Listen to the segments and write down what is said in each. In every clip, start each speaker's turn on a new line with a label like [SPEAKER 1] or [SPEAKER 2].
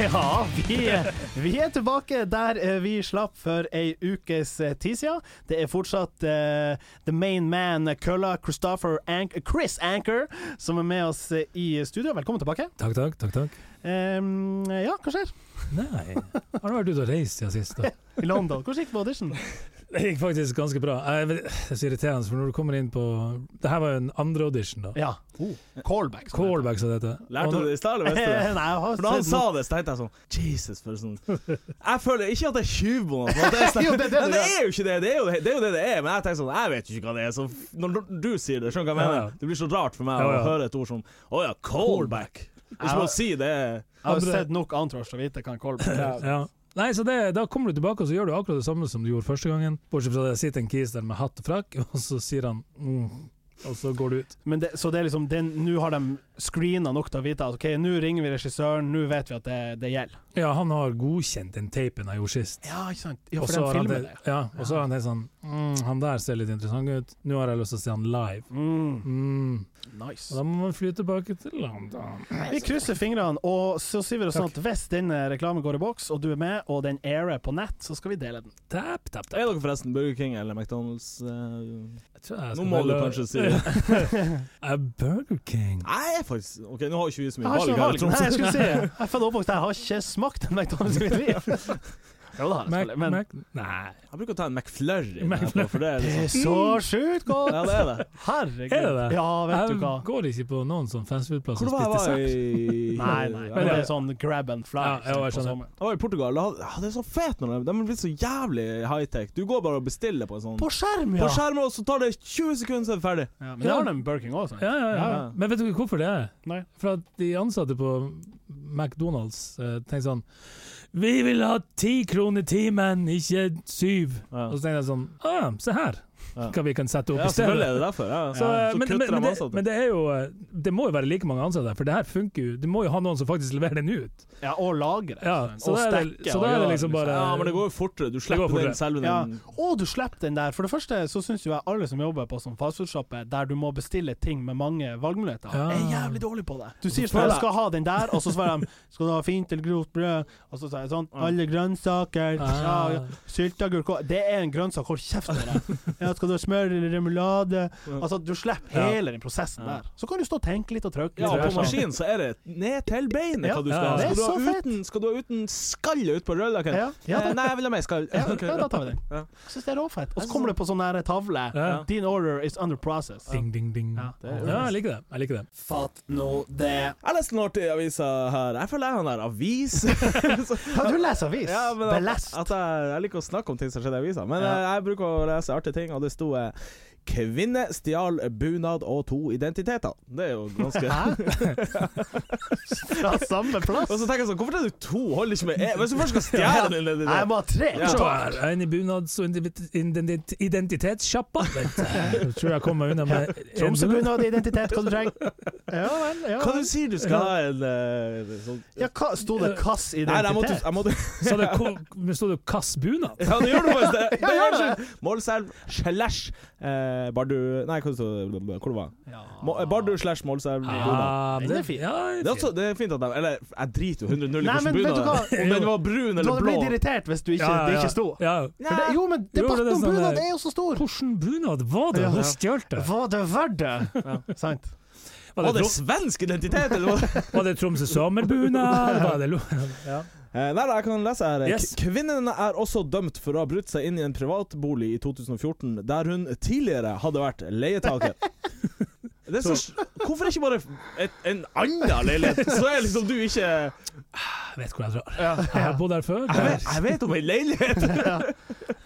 [SPEAKER 1] Ja, vi, vi er tilbake der eh, vi slapp for ei ukes eh, tid siden. Det er fortsatt eh, the main man, Kølla Christopher Ank Chris Anker, som er med oss eh, i studio. Velkommen tilbake.
[SPEAKER 2] Takk, takk, takk, takk.
[SPEAKER 1] Em, ja, hva skjer?
[SPEAKER 2] Nei, har du vært ute og reist siden sist? da?
[SPEAKER 1] I London. Hvordan gikk det på audition?
[SPEAKER 2] Det gikk faktisk ganske bra. Jeg vet- Det er så irriterende, for når du kommer inn på Dette var jo en andre audition, da.
[SPEAKER 1] Ja. Callback. som det heter.
[SPEAKER 2] Callback, som det heter. Og
[SPEAKER 3] Lærte du
[SPEAKER 2] når-
[SPEAKER 3] det i stad, eller visste du det?
[SPEAKER 1] Nei, jeg har
[SPEAKER 3] For da han
[SPEAKER 1] sett
[SPEAKER 3] sa
[SPEAKER 1] noe.
[SPEAKER 3] det, så tenkte jeg sånn Jesus, for sånn Jeg føler ikke at jeg tjuver på noe. for at Det er
[SPEAKER 1] Jo,
[SPEAKER 3] sånn-
[SPEAKER 1] det er
[SPEAKER 3] Men
[SPEAKER 1] det
[SPEAKER 3] det
[SPEAKER 1] du
[SPEAKER 3] er jo ikke det. Det er jo det det, er jo det, det er. Men jeg tenker sånn Jeg vet jo ikke hva det er. Så f- når du sier det, skjønner du hva jeg
[SPEAKER 2] Ja, ja.
[SPEAKER 3] mener? Det blir så rart for meg
[SPEAKER 2] Ja,
[SPEAKER 3] å
[SPEAKER 2] ja.
[SPEAKER 3] høre et ord som Å ja, callback. Det er som å si det er
[SPEAKER 1] Jeg har
[SPEAKER 2] Andre-
[SPEAKER 1] sett nok Antrosh til å vite hva en callback er.
[SPEAKER 2] Ja. Nei, så det, Da kommer du tilbake og så gjør du akkurat det samme som du gjorde første gangen. Bortsett fra at det sitter en kis der med hatt og frakk, og så sier han mm, og så går du ut.
[SPEAKER 1] Men det, så det er liksom den- Nå har de screena nok til å vite at OK, nå ringer vi regissøren, nå vet vi at det, det gjelder.
[SPEAKER 2] Ja, han har godkjent den tapen jeg gjorde sist.
[SPEAKER 1] Ja, ikke sant? Ja,
[SPEAKER 2] Og
[SPEAKER 1] for de
[SPEAKER 2] så har han
[SPEAKER 1] filmer
[SPEAKER 2] det,
[SPEAKER 1] det.
[SPEAKER 2] ja, og så har han det sånn mm, Han der ser litt interessant ut. Nå har jeg lyst til å se han live.
[SPEAKER 1] Mm,
[SPEAKER 2] Mm.
[SPEAKER 1] nice.
[SPEAKER 2] Og da må man fly tilbake til London.
[SPEAKER 1] Vi krysser fingrene, og så sier vi det sånn at hvis denne reklamen går i boks, og du er med, og den airer på nett, så skal vi dele den.
[SPEAKER 2] Tap, tap,
[SPEAKER 3] Er
[SPEAKER 2] tap.
[SPEAKER 3] dere forresten Burger King eller McDonald's? eh,
[SPEAKER 2] Jeg tror
[SPEAKER 3] Nå
[SPEAKER 2] jeg skal
[SPEAKER 3] må du
[SPEAKER 2] velge-
[SPEAKER 3] kanskje si det.
[SPEAKER 2] Eh, Burger King.
[SPEAKER 3] Nei, faktisk OK, nå har jo ikke vi så
[SPEAKER 1] Jeg
[SPEAKER 3] mye
[SPEAKER 1] har ikke
[SPEAKER 3] valg
[SPEAKER 1] noe
[SPEAKER 3] her. i
[SPEAKER 1] valg.
[SPEAKER 2] sånn?
[SPEAKER 1] Nei,
[SPEAKER 3] Tromsø.
[SPEAKER 1] jeg skulle si det. Jeg er født og oppvokst, jeg har ikke smakt en McDonald's i mitt liv. Jo, det har jeg
[SPEAKER 2] Mac,
[SPEAKER 1] selvfølgelig, men
[SPEAKER 2] Mac, nei.
[SPEAKER 3] Jeg bruker å ta en McFlurry,
[SPEAKER 2] Mac-
[SPEAKER 3] etterpå, for det er
[SPEAKER 1] det er
[SPEAKER 3] liksom
[SPEAKER 1] så
[SPEAKER 2] Mm.
[SPEAKER 1] sjukt godt!
[SPEAKER 3] Ja, det er det.
[SPEAKER 1] Herregud.
[SPEAKER 2] Er det det?
[SPEAKER 1] Ja, vet du hva.
[SPEAKER 2] Jeg går ikke på noen sånn fastfoodplass
[SPEAKER 3] Hvor
[SPEAKER 2] som
[SPEAKER 3] var jeg
[SPEAKER 2] spiste
[SPEAKER 3] var
[SPEAKER 2] sepp.
[SPEAKER 3] i
[SPEAKER 1] Nei, nei.
[SPEAKER 3] Ja,
[SPEAKER 1] Men det
[SPEAKER 3] det-
[SPEAKER 1] er sånn grab and fly.
[SPEAKER 2] Ja, jo, jeg
[SPEAKER 1] på
[SPEAKER 2] skjønner.
[SPEAKER 1] sommeren.
[SPEAKER 3] Jeg var i Portugal. da hadde- ah, Det er så fett når de De er blitt så jævlig high-tech. Du går bare og bestiller på en sånn
[SPEAKER 1] På skjerm,
[SPEAKER 3] På
[SPEAKER 1] ja!
[SPEAKER 3] skjermen, og så tar det 20 sekunder, så er det ferdig.
[SPEAKER 1] ja men det har de Burking òg, sant?
[SPEAKER 2] Ja, ja, ja.
[SPEAKER 3] Ja, ja.
[SPEAKER 2] Men vet du hvorfor det er?
[SPEAKER 1] Nei.
[SPEAKER 2] For at de ansatte på McDonald's eh, tenker sånn Vi vil ha ti kroner timen, ikke syv.
[SPEAKER 3] Ja.
[SPEAKER 2] Og så tenker jeg sånn Å ah, ja, se her
[SPEAKER 3] Ja.
[SPEAKER 2] hva vi kan sette opp
[SPEAKER 3] Ja,
[SPEAKER 2] i stedet.
[SPEAKER 3] selvfølgelig er det derfor. Ja.
[SPEAKER 2] Så, eh,
[SPEAKER 3] ja. så
[SPEAKER 2] Altså, men, men,
[SPEAKER 3] kutter
[SPEAKER 2] men,
[SPEAKER 3] de
[SPEAKER 2] det,
[SPEAKER 3] ansatte.
[SPEAKER 2] men det er jo eh, Det må jo være like mange ansatte, for det her funker jo. Du må jo ha noen som faktisk leverer den ut.
[SPEAKER 1] Ja, og lagre.
[SPEAKER 2] Ja,
[SPEAKER 1] sant?
[SPEAKER 2] så
[SPEAKER 1] og
[SPEAKER 2] da er det-
[SPEAKER 1] stekke.
[SPEAKER 2] så
[SPEAKER 1] og
[SPEAKER 2] da er det
[SPEAKER 1] gjøre,
[SPEAKER 2] liksom bare-
[SPEAKER 3] ja, men det går jo fortere. Du slipper
[SPEAKER 2] fortere.
[SPEAKER 3] den selve
[SPEAKER 1] Ja.
[SPEAKER 3] den
[SPEAKER 1] Og du slipper den der. For det første så syns jo jeg alle som jobber på sånn fastfoodsjappe der du må bestille ting med mange valgmuligheter,
[SPEAKER 2] Ja.
[SPEAKER 1] er jævlig dårlig på det. Du sier
[SPEAKER 3] så
[SPEAKER 1] sånn
[SPEAKER 3] føler
[SPEAKER 1] Jeg
[SPEAKER 3] jeg-
[SPEAKER 1] skal ha den der, og så svarer de Skal du ha fint eller grovt brød? Og så sier jeg sånn Alle grønnsaker. Ja,
[SPEAKER 2] Ah.
[SPEAKER 1] ja. Sylteagurk og- Det er en grønnsak, hold kjeft med deg. Ja, skal du ha smør eller remulade? Altså, du slipper
[SPEAKER 2] Ja.
[SPEAKER 1] hele den prosessen
[SPEAKER 3] Ja.
[SPEAKER 1] der. Så kan du stå og tenke litt og trykke.
[SPEAKER 3] Ja,
[SPEAKER 1] litt.
[SPEAKER 3] på
[SPEAKER 1] Sånn.
[SPEAKER 3] maskinen så er det ned til beinet
[SPEAKER 1] Ja,
[SPEAKER 3] hva du
[SPEAKER 2] ja,
[SPEAKER 3] skal ha.
[SPEAKER 2] det er
[SPEAKER 3] Skal du
[SPEAKER 1] så
[SPEAKER 3] ha
[SPEAKER 1] fett.
[SPEAKER 3] uten, skal du ha uten skallet ut på rødløken?
[SPEAKER 1] Ja, ja,
[SPEAKER 3] Eh,
[SPEAKER 1] da,
[SPEAKER 3] Nei, jeg vil ha mer skall.
[SPEAKER 1] ja,
[SPEAKER 3] Ok.
[SPEAKER 1] ja, da tar vi den.
[SPEAKER 3] Ja.
[SPEAKER 1] Jeg syns det er råfett.
[SPEAKER 3] Jeg
[SPEAKER 1] Og så
[SPEAKER 3] synes
[SPEAKER 1] kommer det på sånn der tavle.
[SPEAKER 2] Ja.
[SPEAKER 3] Ja.
[SPEAKER 1] Din order is under process.
[SPEAKER 2] Ding, ding, ding.
[SPEAKER 1] Ja,
[SPEAKER 2] Ja,
[SPEAKER 3] det er jo
[SPEAKER 2] jeg liker det. Jeg liker det.
[SPEAKER 1] Fatt nå det.
[SPEAKER 3] Jeg leste en artig avis her. Jeg føler jeg er han der avis.
[SPEAKER 1] Ja, du leser avis.
[SPEAKER 3] Ja, men at,
[SPEAKER 1] Belest.
[SPEAKER 3] at jeg, jeg liker å snakke om ting som skjedde i avisa, men
[SPEAKER 1] Ja.
[SPEAKER 3] eh, jeg bruker å lese artige ting, og det sto eh, 'Kvinne stjal bunad og to identiteter'. Det er jo ganske
[SPEAKER 1] Hæ? Fra samme plass?
[SPEAKER 3] Og så tenker jeg sånn, hvorfor er du to? Hold ikke med én. Hvis du først skal stjele din
[SPEAKER 1] Nei,
[SPEAKER 3] identitet
[SPEAKER 1] jeg må ha tre!
[SPEAKER 3] Ja.
[SPEAKER 2] Så er jeg inne i bunads- og identi- identi- identitetssjappa. Vet du. Jeg tror jeg kom meg unna med en bunad.
[SPEAKER 1] Tromsøbunad, identitet, hva du trenger. Ja vel, ja
[SPEAKER 3] Hva du
[SPEAKER 1] vel.
[SPEAKER 3] sier du skal ha en eh, sånn
[SPEAKER 1] Ja, hva, sto det Kass
[SPEAKER 3] Nei, jeg måtte,
[SPEAKER 1] identitet?
[SPEAKER 3] jeg måtte
[SPEAKER 2] Så det ko- men sto det 'Kass bunad'?
[SPEAKER 3] Ja, det gjør du faktisk det!
[SPEAKER 1] Ja,
[SPEAKER 3] det
[SPEAKER 1] gjør
[SPEAKER 3] gjør du. Målselv slash eh, Bardu Nei, hva det stod Hvor det var
[SPEAKER 1] Ja.
[SPEAKER 3] Mo- eh, Bardu slash Målselv
[SPEAKER 1] Ah.
[SPEAKER 3] bunad.
[SPEAKER 2] Ja, men
[SPEAKER 1] Den er fin.
[SPEAKER 2] Ah, Ja,
[SPEAKER 3] Det er, også, det er fint at de Eller, jeg driter jo 100 null i
[SPEAKER 1] Nei, men
[SPEAKER 3] hvordan
[SPEAKER 1] vet du
[SPEAKER 3] bunad
[SPEAKER 1] hva?
[SPEAKER 3] er. Om den var brun
[SPEAKER 1] Du
[SPEAKER 3] eller
[SPEAKER 1] hadde
[SPEAKER 3] blå.
[SPEAKER 1] blitt irritert hvis du ikke,
[SPEAKER 2] Ja,
[SPEAKER 1] det
[SPEAKER 2] ja.
[SPEAKER 1] ikke sto.
[SPEAKER 2] Ja.
[SPEAKER 1] For det, jo, men
[SPEAKER 2] Jo, men
[SPEAKER 1] debatten
[SPEAKER 2] det er
[SPEAKER 1] om
[SPEAKER 2] sånn
[SPEAKER 1] bunad
[SPEAKER 2] der-
[SPEAKER 1] er jo så stor!
[SPEAKER 2] Hvordan bunad var det
[SPEAKER 1] Ja.
[SPEAKER 2] hun stjålte?
[SPEAKER 1] Var det verdt det? Sant?
[SPEAKER 2] Var
[SPEAKER 3] Var
[SPEAKER 2] det,
[SPEAKER 3] det
[SPEAKER 2] Trom-
[SPEAKER 3] svensk identitet, eller hva?
[SPEAKER 2] var det Tromsø sommerbunad? Var det lo- ja.
[SPEAKER 3] Eh, Nei, da, jeg kan lese her.
[SPEAKER 2] Yes.
[SPEAKER 3] K- Kvinnen er også dømt for å ha brutt seg inn i en privatbolig i 2014, der hun tidligere hadde vært leietaker. Det er så, hvorfor ikke bare et, en annen leilighet? Så er liksom du ikke Jeg
[SPEAKER 2] Jeg vet hvor jeg drar.
[SPEAKER 1] Ja.
[SPEAKER 2] Jeg har bodd her før.
[SPEAKER 3] vet, jeg vet om ei leilighet!
[SPEAKER 1] Ja,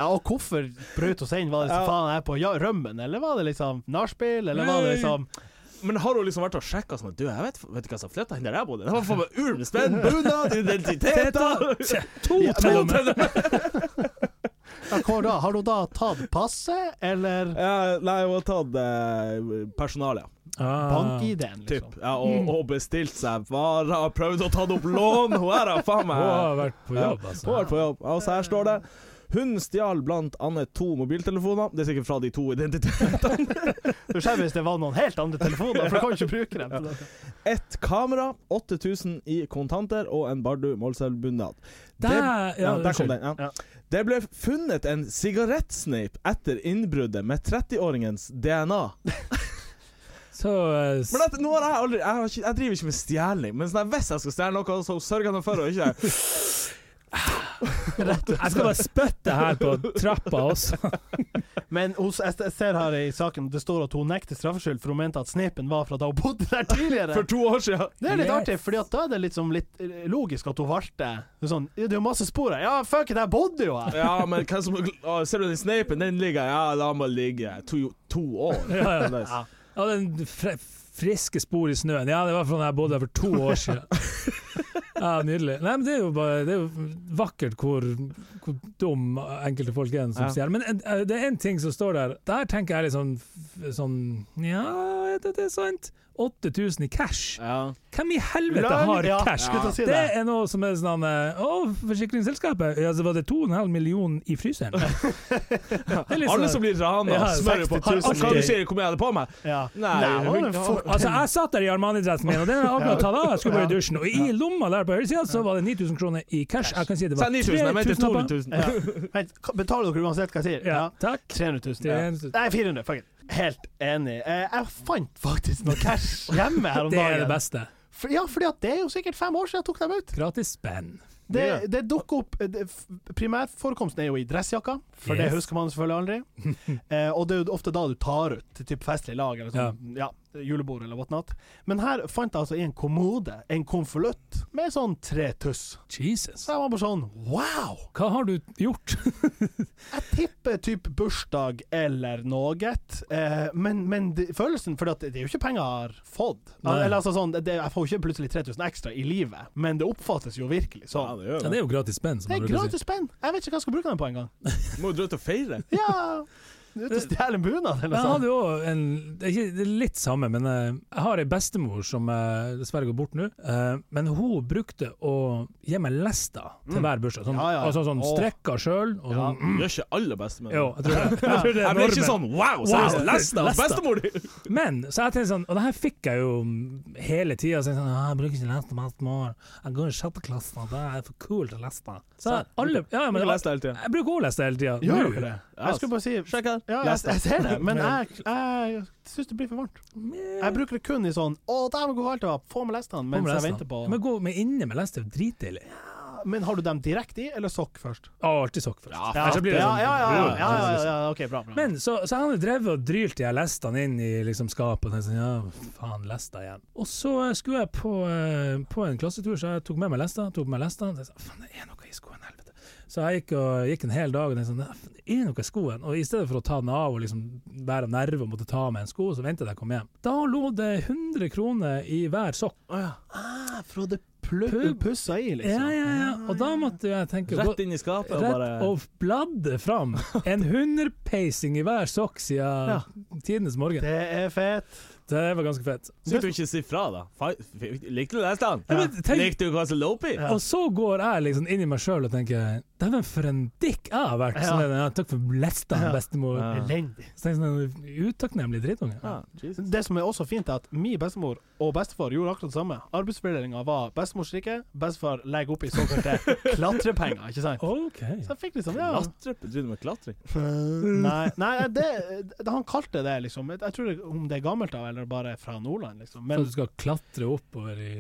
[SPEAKER 1] og hvorfor brøt hun seg inn? Var det så
[SPEAKER 3] Ja.
[SPEAKER 1] faen jeg er på ja, rømmen, eller var det liksom nachspiel, eller var det liksom
[SPEAKER 3] Men har hun liksom vært og sjekka sånn at Du, jeg vet, vet du hva som flytta inn der jeg bodde? Det var faen meg ulv, spenn, bunad, identiteter!
[SPEAKER 2] Teta.
[SPEAKER 3] To
[SPEAKER 1] Ja,
[SPEAKER 3] til
[SPEAKER 2] men-
[SPEAKER 3] og med!
[SPEAKER 1] ja, hvor da? Har hun da tatt passet, eller
[SPEAKER 3] Ja, nei, hun har tatt eh, personalia.
[SPEAKER 2] Ah.
[SPEAKER 1] bank-ID-en,
[SPEAKER 3] Typ.
[SPEAKER 1] liksom?
[SPEAKER 3] Ja, og, og bestilt seg varer, prøvd å ta opp lån. Hun er da faen
[SPEAKER 2] Hun
[SPEAKER 3] meg
[SPEAKER 2] har vært på jobb, altså.
[SPEAKER 3] Hun har vært på jobb. Altså, her står det Hun stjal blant annet to mobiltelefoner. Det er sikkert fra de to identitetene.
[SPEAKER 1] Du skjønner hvis det var noen helt andre telefoner, for du kan ikke bruke dem. til dette.
[SPEAKER 3] Et kamera, 8000 i kontanter og en Bardu Målselv-bunad.
[SPEAKER 2] Der, ja,
[SPEAKER 3] Ja, der kom
[SPEAKER 2] unnskyld.
[SPEAKER 3] den. Ja. Det ble funnet en sigarettsneip etter innbruddet med 30-åringens DNA.
[SPEAKER 2] Så eh, s-
[SPEAKER 3] Men dette, nå har jeg aldri Jeg, har ikke, jeg driver ikke med stjeling, men sånn, at hvis jeg skal stjele noe, så sørger jeg for å ikke
[SPEAKER 2] Jeg skal bare spytte her på trappa også.
[SPEAKER 1] Men hos, jeg, jeg ser her i saken det står at hun nekter straffskyld, for hun mente at snipen var fra da hun bodde der tidligere.
[SPEAKER 3] For to år siden.
[SPEAKER 1] Det er litt
[SPEAKER 2] Yes.
[SPEAKER 1] artig, fordi at da er det liksom litt eh, logisk at hun valgte sånn, ja, Det er jo masse spor her. Ja, fuck it, jeg bodde jo her!
[SPEAKER 3] Ja, men hvem som å, Ser du den sneipen? Den ligger Ja, la meg ligge. To, to år.
[SPEAKER 2] Ja, ja.
[SPEAKER 3] Nice.
[SPEAKER 2] Ja, den fre friske spor i snøen. Ja, det var fra da jeg bodde her for to år siden. Ja, Nydelig. Nei, men Det er jo, bare, det er jo vakkert hvor, hvor dum enkelte folk er som
[SPEAKER 3] Ja.
[SPEAKER 2] stjeler. Men en- eh, det er én ting som står der. Der tenker jeg litt sånn, f- sånn Ja, er det, det er sant. 8000 i cash.
[SPEAKER 3] Ja.
[SPEAKER 2] Hvem i helvete
[SPEAKER 1] Løgn,
[SPEAKER 2] har
[SPEAKER 1] ja,
[SPEAKER 2] cash?
[SPEAKER 1] skulle til å si
[SPEAKER 2] Det
[SPEAKER 1] det.
[SPEAKER 2] er noe som er sånn eh, Å, forsikringsselskapet! Ja, så var det 2,5 millioner i fryseren. Det er litt
[SPEAKER 3] Alle
[SPEAKER 2] sånn-
[SPEAKER 3] som blir rana,
[SPEAKER 2] Ja,
[SPEAKER 3] smører på.
[SPEAKER 1] 60 000
[SPEAKER 3] Hva du sier hvor mye jeg hadde på meg?
[SPEAKER 1] Ja.
[SPEAKER 3] Nei,
[SPEAKER 1] var det
[SPEAKER 3] hun-
[SPEAKER 1] fort-
[SPEAKER 2] Altså, jeg satt der i Armani-dressen min, og den hadde jeg akkurat tatt av. Jeg skulle bare i
[SPEAKER 1] Ja.
[SPEAKER 2] dusjen. Og i lomma der på høyresida så var det 9000 kroner i cash. Jeg kan si det
[SPEAKER 3] Så er
[SPEAKER 2] var
[SPEAKER 3] 9000. Jeg mente
[SPEAKER 2] 3000 napper.
[SPEAKER 3] 2000.
[SPEAKER 1] Ja. Vent, ka- betaler dere uansett hva jeg sier?
[SPEAKER 2] Ja, takk.
[SPEAKER 1] 300 000.
[SPEAKER 2] Det er
[SPEAKER 1] Ja.
[SPEAKER 2] en stund.
[SPEAKER 1] Nei, 400 fuck it. Helt enig. Eh, jeg fant faktisk noe cash hjemme her om
[SPEAKER 2] Det er
[SPEAKER 1] dagen.
[SPEAKER 2] det beste.
[SPEAKER 1] For, ja, fordi at det er jo sikkert fem år siden jeg tok dem ut.
[SPEAKER 2] Gratis spenn.
[SPEAKER 1] Det,
[SPEAKER 3] Ja.
[SPEAKER 1] det dukker opp eh, det, f- Primærforekomsten er jo i dressjakka, for det
[SPEAKER 2] Yes.
[SPEAKER 1] husker man selvfølgelig aldri. Eh, og det er jo ofte da du tar ut til typ festlig lag eller sånn, ja. julebord eller whatnot. Men her fant jeg altså i en kommode en konvolutt med sånn tre tuss. Så
[SPEAKER 2] Jesus.
[SPEAKER 1] jeg var bare sånn wow!
[SPEAKER 2] Hva har du gjort?
[SPEAKER 1] Jeg tipper typ bursdag eller noe, eh, men, men det, følelsen For det er jo ikke penger jeg har fått.
[SPEAKER 2] Nei.
[SPEAKER 1] Eller altså sånn, det, jeg får jo ikke plutselig 3000 ekstra i livet, men det oppfattes jo virkelig
[SPEAKER 3] Ja,
[SPEAKER 1] sånn.
[SPEAKER 3] det gjør
[SPEAKER 2] Ja, det
[SPEAKER 3] det.
[SPEAKER 2] er jo gratis spenn, som
[SPEAKER 1] Det
[SPEAKER 2] man
[SPEAKER 1] er
[SPEAKER 2] bruker å si.
[SPEAKER 1] gratis spenn! Jeg vet ikke hva jeg skal bruke den på engang.
[SPEAKER 3] Må jo dra ut og feire.
[SPEAKER 1] Ja! Du er ute og stjeler en bunad,
[SPEAKER 2] Jeg
[SPEAKER 1] eller sånn. noe sånt.
[SPEAKER 2] hadde jo en det er ikke- det er litt samme, men eh, jeg har ei bestemor som eh, dessverre går bort nå. eh, Men hun brukte å gi meg lester til hver bursdag. Sånn,
[SPEAKER 1] Mm. Ja, ja, ja.
[SPEAKER 2] Altså sånn
[SPEAKER 1] Åh.
[SPEAKER 2] strekka sjøl og
[SPEAKER 1] Ja.
[SPEAKER 2] sånn.
[SPEAKER 3] Gjør ikke alle bestemenn
[SPEAKER 2] Jo, jeg tror det. Jeg tror det er
[SPEAKER 3] Jeg blir ikke
[SPEAKER 2] normen.
[SPEAKER 3] sånn wow,
[SPEAKER 2] Wow.
[SPEAKER 3] seriøst, lesta
[SPEAKER 2] Lesta.
[SPEAKER 3] bestemor di!
[SPEAKER 2] Men så jeg tenkte sånn, og det her fikk jeg jo hele tida. Så jeg, sånn, «Ah, jeg bruker ikke leste mest mål. Jeg går i sjette klasse, det er for kult å leste. Så jeg, alle, ja, men,
[SPEAKER 3] Jeg
[SPEAKER 2] jeg,
[SPEAKER 3] leste hele tiden.
[SPEAKER 2] jeg bruker også leste hele tida.
[SPEAKER 1] Gjør du ikke det?
[SPEAKER 3] Ja,
[SPEAKER 1] Jeg skulle bare si
[SPEAKER 3] Sjekk her.
[SPEAKER 1] ja, jeg,
[SPEAKER 3] Lesta.
[SPEAKER 1] jeg ser det, men jeg, jeg syns det blir for varmt. Jeg bruker det kun i sånn 'Å, dæven, hvor varmt det var', få med lestene mens jeg venter på
[SPEAKER 2] Men gå med inne med leste er jo dritdeilig.
[SPEAKER 1] Men har du dem direkte i, eller sokk først?
[SPEAKER 2] Å, alltid sokk først.
[SPEAKER 3] Ja,
[SPEAKER 2] Ellers så blir det
[SPEAKER 1] ja,
[SPEAKER 2] sånn-
[SPEAKER 1] ja, ja, ja, ja, ja, ja, OK, bra. bra.
[SPEAKER 2] Men så, så jeg hadde drevet og drylt de her lestene inn i liksom, skapet. Og tenkte sånn, ja, faen, lester igjen. Og så eh, skulle jeg på, eh, på en klassetur, så jeg tok med meg lester. Tok med meg lester og tenkte sånn, faen, det er noe i skoen, helvete. Så jeg gikk, og, gikk en hel dag og tenkte sånn, «Nei, faen, det er noe i skoen. Og i stedet for å ta den av og liksom være nerve og måtte ta med en sko, så ventet jeg til jeg kom hjem. Da lå det 100 kroner i hver sokk.
[SPEAKER 1] Ah, fra det plu-
[SPEAKER 2] Pub.
[SPEAKER 1] pussa i,
[SPEAKER 2] Ja,
[SPEAKER 1] liksom.
[SPEAKER 2] ja, ja. Og da måtte jeg tenke gå-
[SPEAKER 3] Rett inn i skapet og bare
[SPEAKER 2] Rett og bladde fram en hunderpeising i hver sokk siden
[SPEAKER 1] Ja.
[SPEAKER 2] tidenes morgen.
[SPEAKER 1] Det er fett.
[SPEAKER 2] Det var ganske fett.
[SPEAKER 3] Sitter du ikke og sier fra, da? Fa- f- Likte du lesteren?
[SPEAKER 2] Ja, men tenk-
[SPEAKER 3] Likte du hva som lå oppi?
[SPEAKER 2] Og så går jeg liksom inn i meg sjøl og tenker Dæven, for en dick jeg har vært! Sånn
[SPEAKER 1] Ja.
[SPEAKER 2] er det, ja, takk for lestene,
[SPEAKER 1] Ja.
[SPEAKER 2] bestemor.
[SPEAKER 3] Ja.
[SPEAKER 1] Elendig.
[SPEAKER 2] Så tenker jeg sånn, Utakknemlig drittunge.
[SPEAKER 3] Ja, Jesus.
[SPEAKER 1] Det som er også fint, er at min bestemor og bestefar gjorde akkurat det samme. Arbeidsfordelinga var bestemor strikker, bestefar legger opp i såkalte klatrepenger, ikke sant?
[SPEAKER 2] OK.
[SPEAKER 1] Så jeg fikk liksom ja.
[SPEAKER 3] Klatre? Driver du med klatring?
[SPEAKER 1] Nei, nei det, det, han kalte det liksom Jeg tror det, om det er gammelt av, eller bare fra Nordland, liksom.
[SPEAKER 2] Så
[SPEAKER 1] Men
[SPEAKER 2] du skal klatre oppover i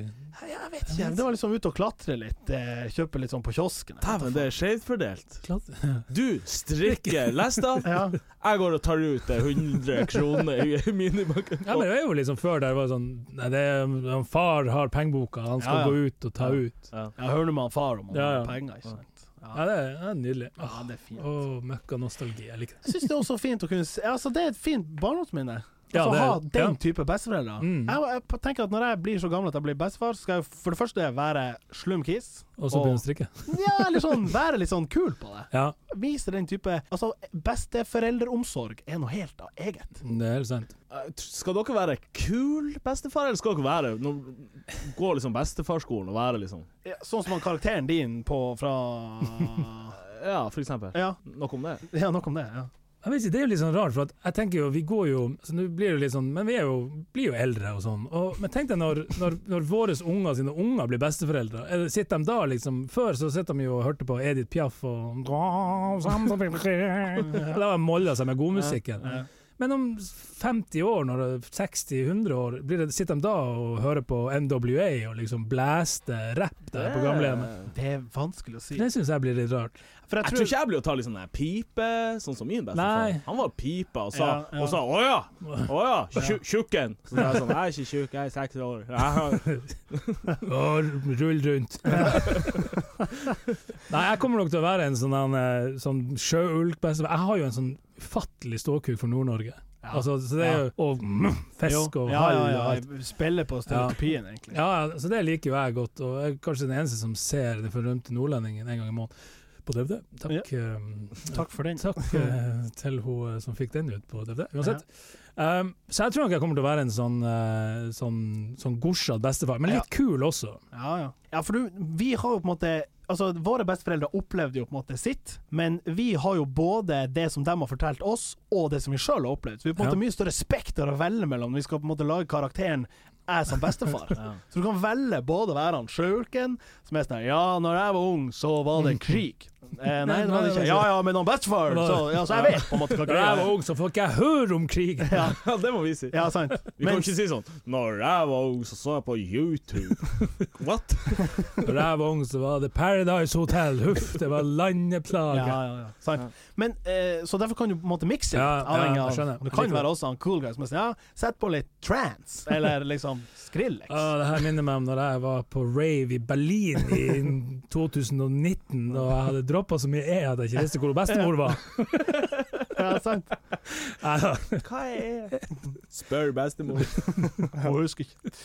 [SPEAKER 1] jeg vet ikke. Det var liksom ute og klatre litt. eh, Kjøpe litt sånn på kiosken.
[SPEAKER 3] Dæven, det er skjevt fordelt.
[SPEAKER 2] klatre.
[SPEAKER 3] Du strikker lesta,
[SPEAKER 1] Ja.
[SPEAKER 3] jeg går og tar ut eh, 100 kroner i minibanken.
[SPEAKER 2] Ja, men det var jo liksom før der var sånn Nei, det er, han far har pengeboka, han skal
[SPEAKER 1] Ja, ja.
[SPEAKER 2] gå ut og ta
[SPEAKER 3] Ja.
[SPEAKER 2] ut.
[SPEAKER 3] Ja.
[SPEAKER 1] Jeg hører med han far om han
[SPEAKER 2] Ja,
[SPEAKER 1] har
[SPEAKER 2] ja.
[SPEAKER 1] penger, ikke sant.
[SPEAKER 2] Ja,
[SPEAKER 1] Ja,
[SPEAKER 2] det er, det er nydelig. Åh,
[SPEAKER 1] ja det er fint.
[SPEAKER 2] Åh, møkka nostalgi. Jeg liker
[SPEAKER 1] Ah.
[SPEAKER 2] det.
[SPEAKER 1] Jeg syns det er også fint å kunne se Altså, det er et fint barndomsminne.
[SPEAKER 2] Ja,
[SPEAKER 1] altså,
[SPEAKER 2] det er-
[SPEAKER 1] ha den
[SPEAKER 2] ja.
[SPEAKER 1] type besteforeldre.
[SPEAKER 2] Mm.
[SPEAKER 1] Jeg, jeg tenker at når jeg blir så gammel at jeg blir bestefar, så skal jeg for det første være slum kis.
[SPEAKER 2] Og så begynner å strikke.
[SPEAKER 1] Ja, eller sånn være litt sånn kul på det.
[SPEAKER 2] Ja,
[SPEAKER 1] Vise den type Altså, besteforeldreomsorg er noe helt av eget.
[SPEAKER 2] det er helt sant.
[SPEAKER 3] Eh, tr- Skal dere være kul bestefar, eller skal dere være no- Gå liksom bestefarskolen og være liksom
[SPEAKER 1] Ja, Sånn som han karakteren din på fra
[SPEAKER 3] Ja, for eksempel.
[SPEAKER 1] Ja,
[SPEAKER 3] Nok om det.
[SPEAKER 1] ja nok om det. Ja.
[SPEAKER 2] Jeg vet ikke, Det er jo litt sånn rart, for at jeg tenker jo vi går jo så nå blir det jo litt sånn, Men vi er jo, blir jo eldre og sånn. Og, men tenk deg når, når, når våre unger sine unger blir besteforeldre. Er det- Sitter de da liksom Før så sitter de jo og hørte på Edith Piaf og Da molla seg med godmusikken.
[SPEAKER 1] Ja.
[SPEAKER 2] Men om 50 år, når det er 60-100 år, blir det, sitter de da og hører på NWA og liksom blæster rapp der på gamlehjemmet?
[SPEAKER 1] Det er vanskelig å si.
[SPEAKER 2] Det syns jeg blir litt rart.
[SPEAKER 1] For
[SPEAKER 3] Jeg tror ikke jeg blir å ta liksom den her pipe, sånn som min bestefar.
[SPEAKER 2] Nei.
[SPEAKER 3] Han var pipa og sa
[SPEAKER 1] Ja, ja.
[SPEAKER 3] Og sa 'Å ja, å ja, tju- tjukken'. Så jeg er sånn 'Jeg er ikke tjukk, jeg er seks år'. Ja.
[SPEAKER 2] Å, Rull rundt. Nei, jeg kommer nok til å være en sånn, en, eh, sånn sjøulkbestefar. Jeg har jo en sånn ufattelig ståkuk for Nord-Norge.
[SPEAKER 1] Ja.
[SPEAKER 2] Altså, så det er jo Og mm, fisk og
[SPEAKER 1] ja,
[SPEAKER 2] hai
[SPEAKER 1] ja,
[SPEAKER 2] og
[SPEAKER 1] ja,
[SPEAKER 2] alt.
[SPEAKER 1] jeg Spiller på stereotypien, egentlig.
[SPEAKER 2] Ja, ja, så det liker jo jeg godt, og jeg er kanskje den eneste som ser Den fordømte nordlendingen en gang i måneden. På DVD. Takk, eh,
[SPEAKER 1] Takk for den.
[SPEAKER 2] Takk eh, til hun eh, som fikk den ut på DVD. Uansett. Um, så jeg tror nok jeg kommer til å være en sånn, uh, sånn, sånn gorsete bestefar, men litt kul også.
[SPEAKER 1] Ja, ja. ja for du, vi har jo på en måte Altså, Våre besteforeldre opplevde jo på en måte sitt, men vi har jo både det som de har fortalt oss, og det som vi sjøl har opplevd. Så vi har på en måte
[SPEAKER 2] Ja.
[SPEAKER 1] mye større spekter å velge mellom. Vi skal på en måte lage karakteren jeg som bestefar.
[SPEAKER 3] Ja.
[SPEAKER 1] Så du kan velge både å være han sjøulken, som er sånn her, Ja, når jeg var ung, så var det krig. Eh, nei, det var det ikke. Ja ja, men han bestefar, så, ja, så jeg vet på en måte hva
[SPEAKER 2] Da jeg
[SPEAKER 1] greia
[SPEAKER 2] var
[SPEAKER 1] er.
[SPEAKER 2] ung, så får ikke jeg høre om krigen!
[SPEAKER 3] ja, det må vi si.
[SPEAKER 1] Ja, sant.
[SPEAKER 3] Vi kan ikke si sånn 'Når jeg var ung, så så jeg på YouTube'. What?
[SPEAKER 2] Da jeg var ung, så var det Paradise Hotel, huff, det var landeplage.
[SPEAKER 1] Ja, ja, ja. Sant.
[SPEAKER 3] Ja.
[SPEAKER 1] Men, eh, så derfor kan du på en måte mikse litt.
[SPEAKER 2] Ja, ja,
[SPEAKER 1] avhengig
[SPEAKER 2] jeg
[SPEAKER 1] av-
[SPEAKER 2] skjønner.
[SPEAKER 1] Du kan
[SPEAKER 2] Jeg
[SPEAKER 1] jo
[SPEAKER 2] liker
[SPEAKER 1] være også han cool guy som er sånn Ja, sett på litt trance, eller liksom Skrillex.
[SPEAKER 2] Ah, det her minner meg om når jeg var på rave i Berlin i 2019, og jeg hadde droppa så mye E at jeg ikke visste hvor bestemor var.
[SPEAKER 1] ja, sant?
[SPEAKER 2] Neida.
[SPEAKER 3] Hva er Spør bestemor.
[SPEAKER 1] Jeg husker ikke.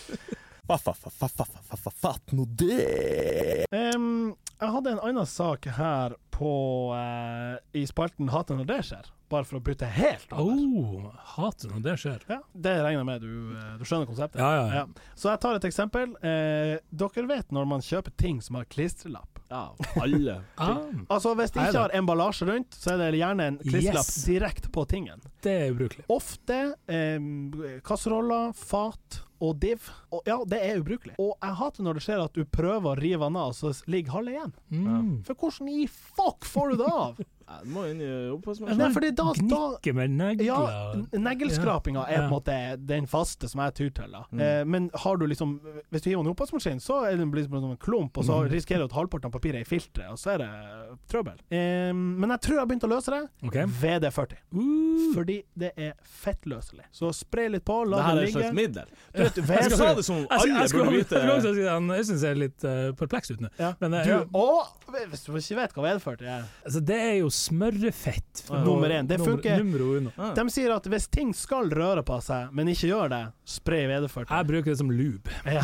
[SPEAKER 4] Fatt nå det!
[SPEAKER 1] Em, jeg hadde en annen sak her på eh, i spalten Hater når det skjer, bare for å bytte helt over.
[SPEAKER 2] Au, hater når det skjer.
[SPEAKER 1] Ja, det regner jeg med du, eh, du skjønner konseptet.
[SPEAKER 2] Ja, ja, ja.
[SPEAKER 1] Ja. Så jeg tar et eksempel. Eh, dere vet når man kjøper ting som har klistrelapp.
[SPEAKER 3] Ja, alle.
[SPEAKER 2] Ah,
[SPEAKER 1] Altså Hvis det
[SPEAKER 2] Nei da.
[SPEAKER 1] ikke har emballasje rundt, så er det gjerne en klistrelapp
[SPEAKER 2] Yes.
[SPEAKER 1] direkte på tingen.
[SPEAKER 2] det er ubrukelig.
[SPEAKER 1] Ofte eh, kasseroller, fat og div. Og, ja, det er ubrukelig. Og jeg hater når det skjer at du prøver å rive den av, og så ligger halve igjen.
[SPEAKER 2] Mm.
[SPEAKER 1] For hvordan i fuck får du det av?
[SPEAKER 3] Ja, Du må inn i
[SPEAKER 1] Nei,
[SPEAKER 3] oppvaskmaskinen.
[SPEAKER 1] fordi da, da
[SPEAKER 2] Gnikke med negler.
[SPEAKER 1] ja, Negleskrapinga er på
[SPEAKER 2] Ja.
[SPEAKER 1] en måte den faste som jeg tyr til. Da.
[SPEAKER 3] Mm.
[SPEAKER 1] Eh, men har du liksom hvis du hiver den i oppvaskmaskinen, så er den blir som en klump, og så
[SPEAKER 3] Mm.
[SPEAKER 1] risikerer du at halvparten av papiret er i filteret, og så er det trøbbel. Eh, men jeg tror jeg begynte å løse det.
[SPEAKER 2] Ok.
[SPEAKER 1] VD40.
[SPEAKER 2] Uh,
[SPEAKER 1] Fordi det er fettløselig. Så spray litt på,
[SPEAKER 3] Det
[SPEAKER 1] la
[SPEAKER 3] her er
[SPEAKER 1] det
[SPEAKER 3] et
[SPEAKER 1] ligge.
[SPEAKER 3] slags middel.
[SPEAKER 1] Du vet,
[SPEAKER 3] Jeg
[SPEAKER 1] ved-
[SPEAKER 3] sa det som
[SPEAKER 2] jeg,
[SPEAKER 3] alle
[SPEAKER 2] jeg, skulle,
[SPEAKER 3] burde
[SPEAKER 2] jeg
[SPEAKER 3] vite.
[SPEAKER 2] skulle også si han, jeg syns jeg er litt eh, perpleks ut nå.
[SPEAKER 1] Ja.
[SPEAKER 2] Men, eh,
[SPEAKER 1] du,
[SPEAKER 2] ja.
[SPEAKER 1] å, hvis du ikke vet hva vedført er
[SPEAKER 2] Altså, det er jo smørrefett.
[SPEAKER 1] Ja. Nummer én. Det
[SPEAKER 2] Nummer-
[SPEAKER 1] funker.
[SPEAKER 2] numero uno.
[SPEAKER 3] Ja.
[SPEAKER 1] De sier at hvis ting skal røre på seg, men ikke gjør det, spray vedført.
[SPEAKER 2] Jeg bruker det som lube.
[SPEAKER 1] Ja.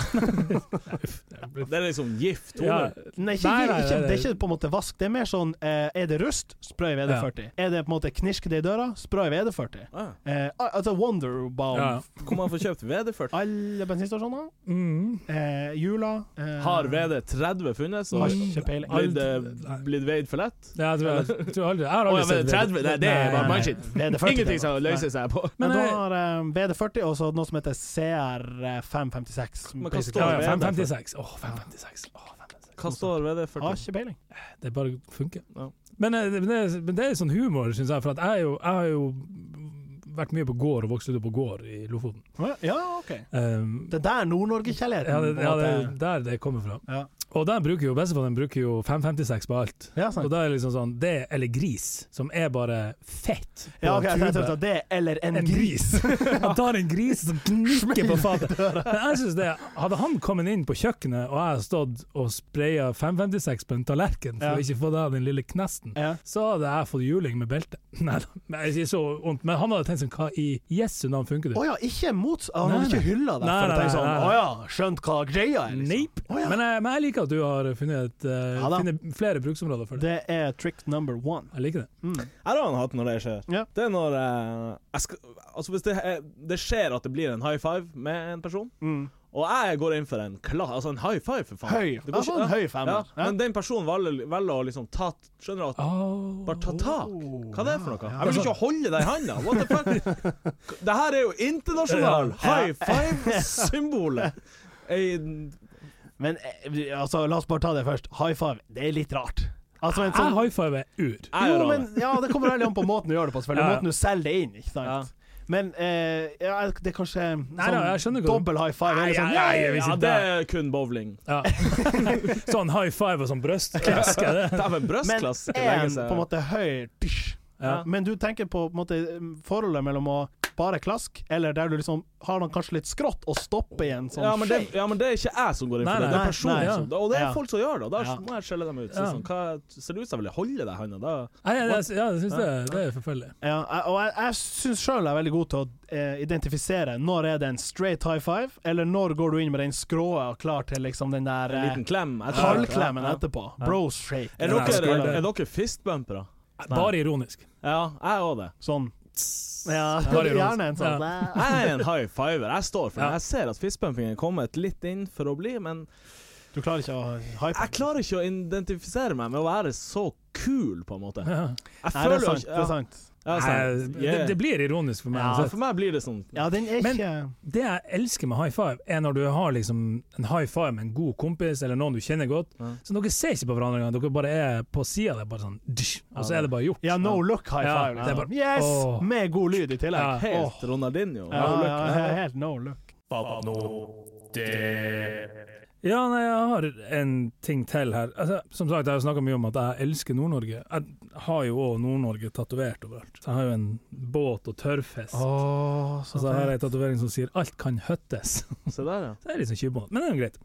[SPEAKER 3] Det er liksom gift.
[SPEAKER 2] Ja.
[SPEAKER 3] Tone.
[SPEAKER 1] Nei, ikke,
[SPEAKER 2] Nei, nei, nei,
[SPEAKER 1] ikke, det er
[SPEAKER 2] nei.
[SPEAKER 1] ikke på en måte vask, det er mer sånn eh, Er det rust, spray VD40. Er det på en måte knirke det i døra, spray VD40.
[SPEAKER 3] Ja.
[SPEAKER 1] Eh, al- altså Wonderbomb.
[SPEAKER 2] Ja.
[SPEAKER 3] Hvor man får kjøpt VD40.
[SPEAKER 1] Alle bensinstasjoner.
[SPEAKER 2] Mm.
[SPEAKER 1] Eh, jula. Eh,
[SPEAKER 3] Har VD30 funnes?
[SPEAKER 1] Har
[SPEAKER 3] Og
[SPEAKER 1] ikke peiling.
[SPEAKER 3] blitt, eh,
[SPEAKER 2] Alt-
[SPEAKER 3] blitt veid for lett?
[SPEAKER 2] Ja, jeg, tror jeg, jeg tror aldri Jeg har
[SPEAKER 3] Å
[SPEAKER 2] aldri
[SPEAKER 3] ja,
[SPEAKER 2] sett
[SPEAKER 3] VD30? Nei, det er
[SPEAKER 2] Nei,
[SPEAKER 3] bare
[SPEAKER 2] nei.
[SPEAKER 3] mannskitt.
[SPEAKER 1] VD40,
[SPEAKER 3] Ingenting
[SPEAKER 1] det var-
[SPEAKER 3] som
[SPEAKER 1] Nei.
[SPEAKER 3] løser seg på
[SPEAKER 1] eh, Men
[SPEAKER 2] Men
[SPEAKER 1] da
[SPEAKER 2] jeg,
[SPEAKER 1] har eh, VD40 og så noe som heter eh, CR556.
[SPEAKER 3] Men hva
[SPEAKER 1] basically.
[SPEAKER 2] ja,
[SPEAKER 3] står
[SPEAKER 2] ja,
[SPEAKER 3] VD40.
[SPEAKER 2] 556. Åh, 556. Åh, 556.
[SPEAKER 3] Hva står
[SPEAKER 1] Har
[SPEAKER 3] VD40?
[SPEAKER 1] Ah, ikke peiling.
[SPEAKER 2] Det bare funker.
[SPEAKER 3] Ja.
[SPEAKER 2] Men, eh, det- men, det, men det er sånn humor, syns jeg. For at jeg, er jo, jeg har jo vært mye på gård og vokst opp på gård i Lofoten.
[SPEAKER 1] Ja, OK.
[SPEAKER 2] Um,
[SPEAKER 1] Det der Nord-Norge-kjærligheten.
[SPEAKER 2] ja, det,
[SPEAKER 1] på en
[SPEAKER 2] ja, det er
[SPEAKER 1] måte.
[SPEAKER 2] jo der det kommer fra.
[SPEAKER 1] Ja.
[SPEAKER 2] Og der bruker jo bestefaren bruker jo 556 på alt.
[SPEAKER 1] ja,
[SPEAKER 2] Og
[SPEAKER 1] sant.
[SPEAKER 2] da er det liksom sånn det, Eller gris, som er bare fett på
[SPEAKER 1] Ja, ok, jeg
[SPEAKER 2] en
[SPEAKER 1] tenkte
[SPEAKER 2] tube.
[SPEAKER 1] at det eller en,
[SPEAKER 2] En
[SPEAKER 1] gris.
[SPEAKER 2] Han tar en gris som gnikker på fatet. Men jeg synes det, Hadde han kommet inn på kjøkkenet, og jeg hadde stått og spraya 556 på en tallerken for
[SPEAKER 1] Ja.
[SPEAKER 2] å ikke få det av den lille knesten,
[SPEAKER 1] Ja.
[SPEAKER 2] så hadde jeg fått juling med belte. Nei da, men jeg sier så vondt. Men han hadde tenkt sånn Hva i Jesu navn
[SPEAKER 1] Å
[SPEAKER 2] funker det?
[SPEAKER 1] ja, ikke mot Han
[SPEAKER 2] Nei,
[SPEAKER 1] hadde
[SPEAKER 2] nei.
[SPEAKER 1] ikke hylla deg
[SPEAKER 2] Nei,
[SPEAKER 1] for å
[SPEAKER 2] nei,
[SPEAKER 1] tenke sånn
[SPEAKER 2] nei,
[SPEAKER 1] Å
[SPEAKER 2] nei.
[SPEAKER 1] ja, skjønt hva greia er, liksom.
[SPEAKER 2] Neip.
[SPEAKER 1] Å ja.
[SPEAKER 2] Men, jeg, men jeg liker at du har funnet, et, eh,
[SPEAKER 1] Ja da.
[SPEAKER 2] funnet flere bruksområder for det.
[SPEAKER 1] Det er trick number one.
[SPEAKER 2] Jeg liker det.
[SPEAKER 1] Mm.
[SPEAKER 3] Her har han hatt når det skjer.
[SPEAKER 1] Ja.
[SPEAKER 3] Det er når eh, jeg skal, Altså, hvis det, er- det skjer at det blir en high five med en person,
[SPEAKER 1] Mm.
[SPEAKER 3] Og jeg går inn for en kla... Altså en high five, for faen.
[SPEAKER 1] Høy.
[SPEAKER 3] Det går
[SPEAKER 1] Ja,
[SPEAKER 3] ikke,
[SPEAKER 1] sånn
[SPEAKER 3] ja.
[SPEAKER 1] høy
[SPEAKER 3] Ja,
[SPEAKER 1] femmer. Ja.
[SPEAKER 3] men den personen velger, velger å liksom ta Skjønner du at
[SPEAKER 2] Oh.
[SPEAKER 3] Bare ta tak. Hva er det for noe?
[SPEAKER 1] Ja.
[SPEAKER 3] Jeg vil ikke holde deg i handa! What the fuck? Det her er jo internasjonal high five-symbolet! Ei-
[SPEAKER 1] Men eh, altså, la oss bare ta det først. High five, det er litt rart. Altså, en
[SPEAKER 2] Jeg
[SPEAKER 1] sånn
[SPEAKER 2] high fiver ur.
[SPEAKER 3] jeg
[SPEAKER 1] Jo,
[SPEAKER 3] gjør av
[SPEAKER 1] men
[SPEAKER 3] det.
[SPEAKER 1] ja, det kommer veldig an på måten du gjør det på, selvfølgelig.
[SPEAKER 2] Ja, ja.
[SPEAKER 1] Måten du selger det inn, ikke sant. Men eh, ja, det er kanskje
[SPEAKER 2] Nei da, jeg skjønner hva du-
[SPEAKER 1] dobbel high five.
[SPEAKER 2] Nei,
[SPEAKER 1] eller sånn,
[SPEAKER 2] nei, nei,
[SPEAKER 1] yeah!
[SPEAKER 2] jeg vil
[SPEAKER 3] Ja,
[SPEAKER 2] ikke
[SPEAKER 3] det
[SPEAKER 2] det.
[SPEAKER 3] er kun bowling.
[SPEAKER 2] Ja. sånn high five og sånn brøstklask. er det?
[SPEAKER 3] Dæven,
[SPEAKER 1] Men
[SPEAKER 3] brøstklass skal legge
[SPEAKER 1] en på en
[SPEAKER 3] seg.
[SPEAKER 1] måte høy tysj.
[SPEAKER 2] Ja.
[SPEAKER 1] Men du tenker på, på en måte, forholdet mellom å bare klask, eller der du liksom har den kanskje litt skrått og stopper i en sånn
[SPEAKER 3] Ja men, det,
[SPEAKER 1] shake.
[SPEAKER 3] ja, men det er ikke jeg som går inn
[SPEAKER 2] Nei,
[SPEAKER 3] for det. Det
[SPEAKER 2] nei,
[SPEAKER 3] er personen
[SPEAKER 1] nei,
[SPEAKER 2] ja.
[SPEAKER 3] som Og det er
[SPEAKER 1] Ja.
[SPEAKER 3] folk som gjør det, og da
[SPEAKER 1] Ja.
[SPEAKER 3] må jeg skjelle dem ut. Så
[SPEAKER 2] Ja.
[SPEAKER 3] sånn, hva, ser det ut som jeg vil holde deg i handa? Da
[SPEAKER 2] Nei, jeg, jeg, ja, jeg syns det, det er forferdelig.
[SPEAKER 1] Ja, jeg- og jeg, jeg syns sjøl jeg er veldig god til å eh, identifisere når er det en straight high five, eller når går du inn med den skråe og klar til liksom den der
[SPEAKER 3] en
[SPEAKER 1] eh,
[SPEAKER 3] liten klem. Jeg tar-
[SPEAKER 1] halvklemmen
[SPEAKER 3] Ja, ja.
[SPEAKER 1] etterpå. Bros shake.
[SPEAKER 3] Er
[SPEAKER 2] Ja, jeg
[SPEAKER 3] dere,
[SPEAKER 2] skal-
[SPEAKER 3] er dere fistbumpere?
[SPEAKER 2] Bare ironisk.
[SPEAKER 3] Ja, jeg òg det.
[SPEAKER 1] Sånn. Ja,
[SPEAKER 2] Bare ironisk.
[SPEAKER 1] gjerne en sånn.
[SPEAKER 3] Jeg er en high fiver. Jeg står for
[SPEAKER 2] Ja.
[SPEAKER 3] det. Jeg ser at fistbumpingen er kommet litt inn for å bli, men
[SPEAKER 1] Du klarer ikke å hype?
[SPEAKER 3] jeg klarer ikke å identifisere meg med å være så kul, på en måte.
[SPEAKER 2] Ja.
[SPEAKER 3] Jeg
[SPEAKER 1] Nei, det er
[SPEAKER 3] føler jo
[SPEAKER 1] sant.
[SPEAKER 3] ikke
[SPEAKER 1] Det er
[SPEAKER 3] ja,
[SPEAKER 1] sant.
[SPEAKER 3] ja,
[SPEAKER 2] Nei,
[SPEAKER 3] sant.
[SPEAKER 2] det,
[SPEAKER 3] Yeah.
[SPEAKER 2] det blir ironisk for meg.
[SPEAKER 3] Ja,
[SPEAKER 2] uansett.
[SPEAKER 3] for meg blir det sånn
[SPEAKER 1] Ja, den er
[SPEAKER 2] Men-
[SPEAKER 1] ikke
[SPEAKER 2] Det jeg elsker med high five, er når du har liksom en high five med en god kompis eller noen du kjenner godt.
[SPEAKER 3] Ja.
[SPEAKER 2] Så dere ser ikke på hverandre engang, dere bare er på sida der, bare sånn dysj, og så er det bare gjort.
[SPEAKER 1] Ja, no look high
[SPEAKER 2] Ja,
[SPEAKER 1] five.
[SPEAKER 2] det er
[SPEAKER 1] Liksom.
[SPEAKER 2] bare-
[SPEAKER 1] Yes!
[SPEAKER 2] Åh.
[SPEAKER 1] Med god lyd i
[SPEAKER 2] Ja.
[SPEAKER 1] tillegg. Åh.
[SPEAKER 3] helt Ronaldinho.
[SPEAKER 1] Ja,
[SPEAKER 3] Har du
[SPEAKER 1] ja,
[SPEAKER 3] lykke?
[SPEAKER 1] he- helt no look.
[SPEAKER 2] Ja, nei, jeg har en ting til her. Altså, som sagt, jeg har snakka mye om at jeg elsker Nord-Norge. Jeg har jo òg Nord-Norge tatovert overalt. Så jeg har jo en båt og tørrfisk.
[SPEAKER 1] Ah, Åh,
[SPEAKER 2] Og så har jeg ei tatovering som sier 'alt kan høttes'.
[SPEAKER 3] Se der, ja.
[SPEAKER 2] Så det er liksom tjuvbåt, men det er jo greit.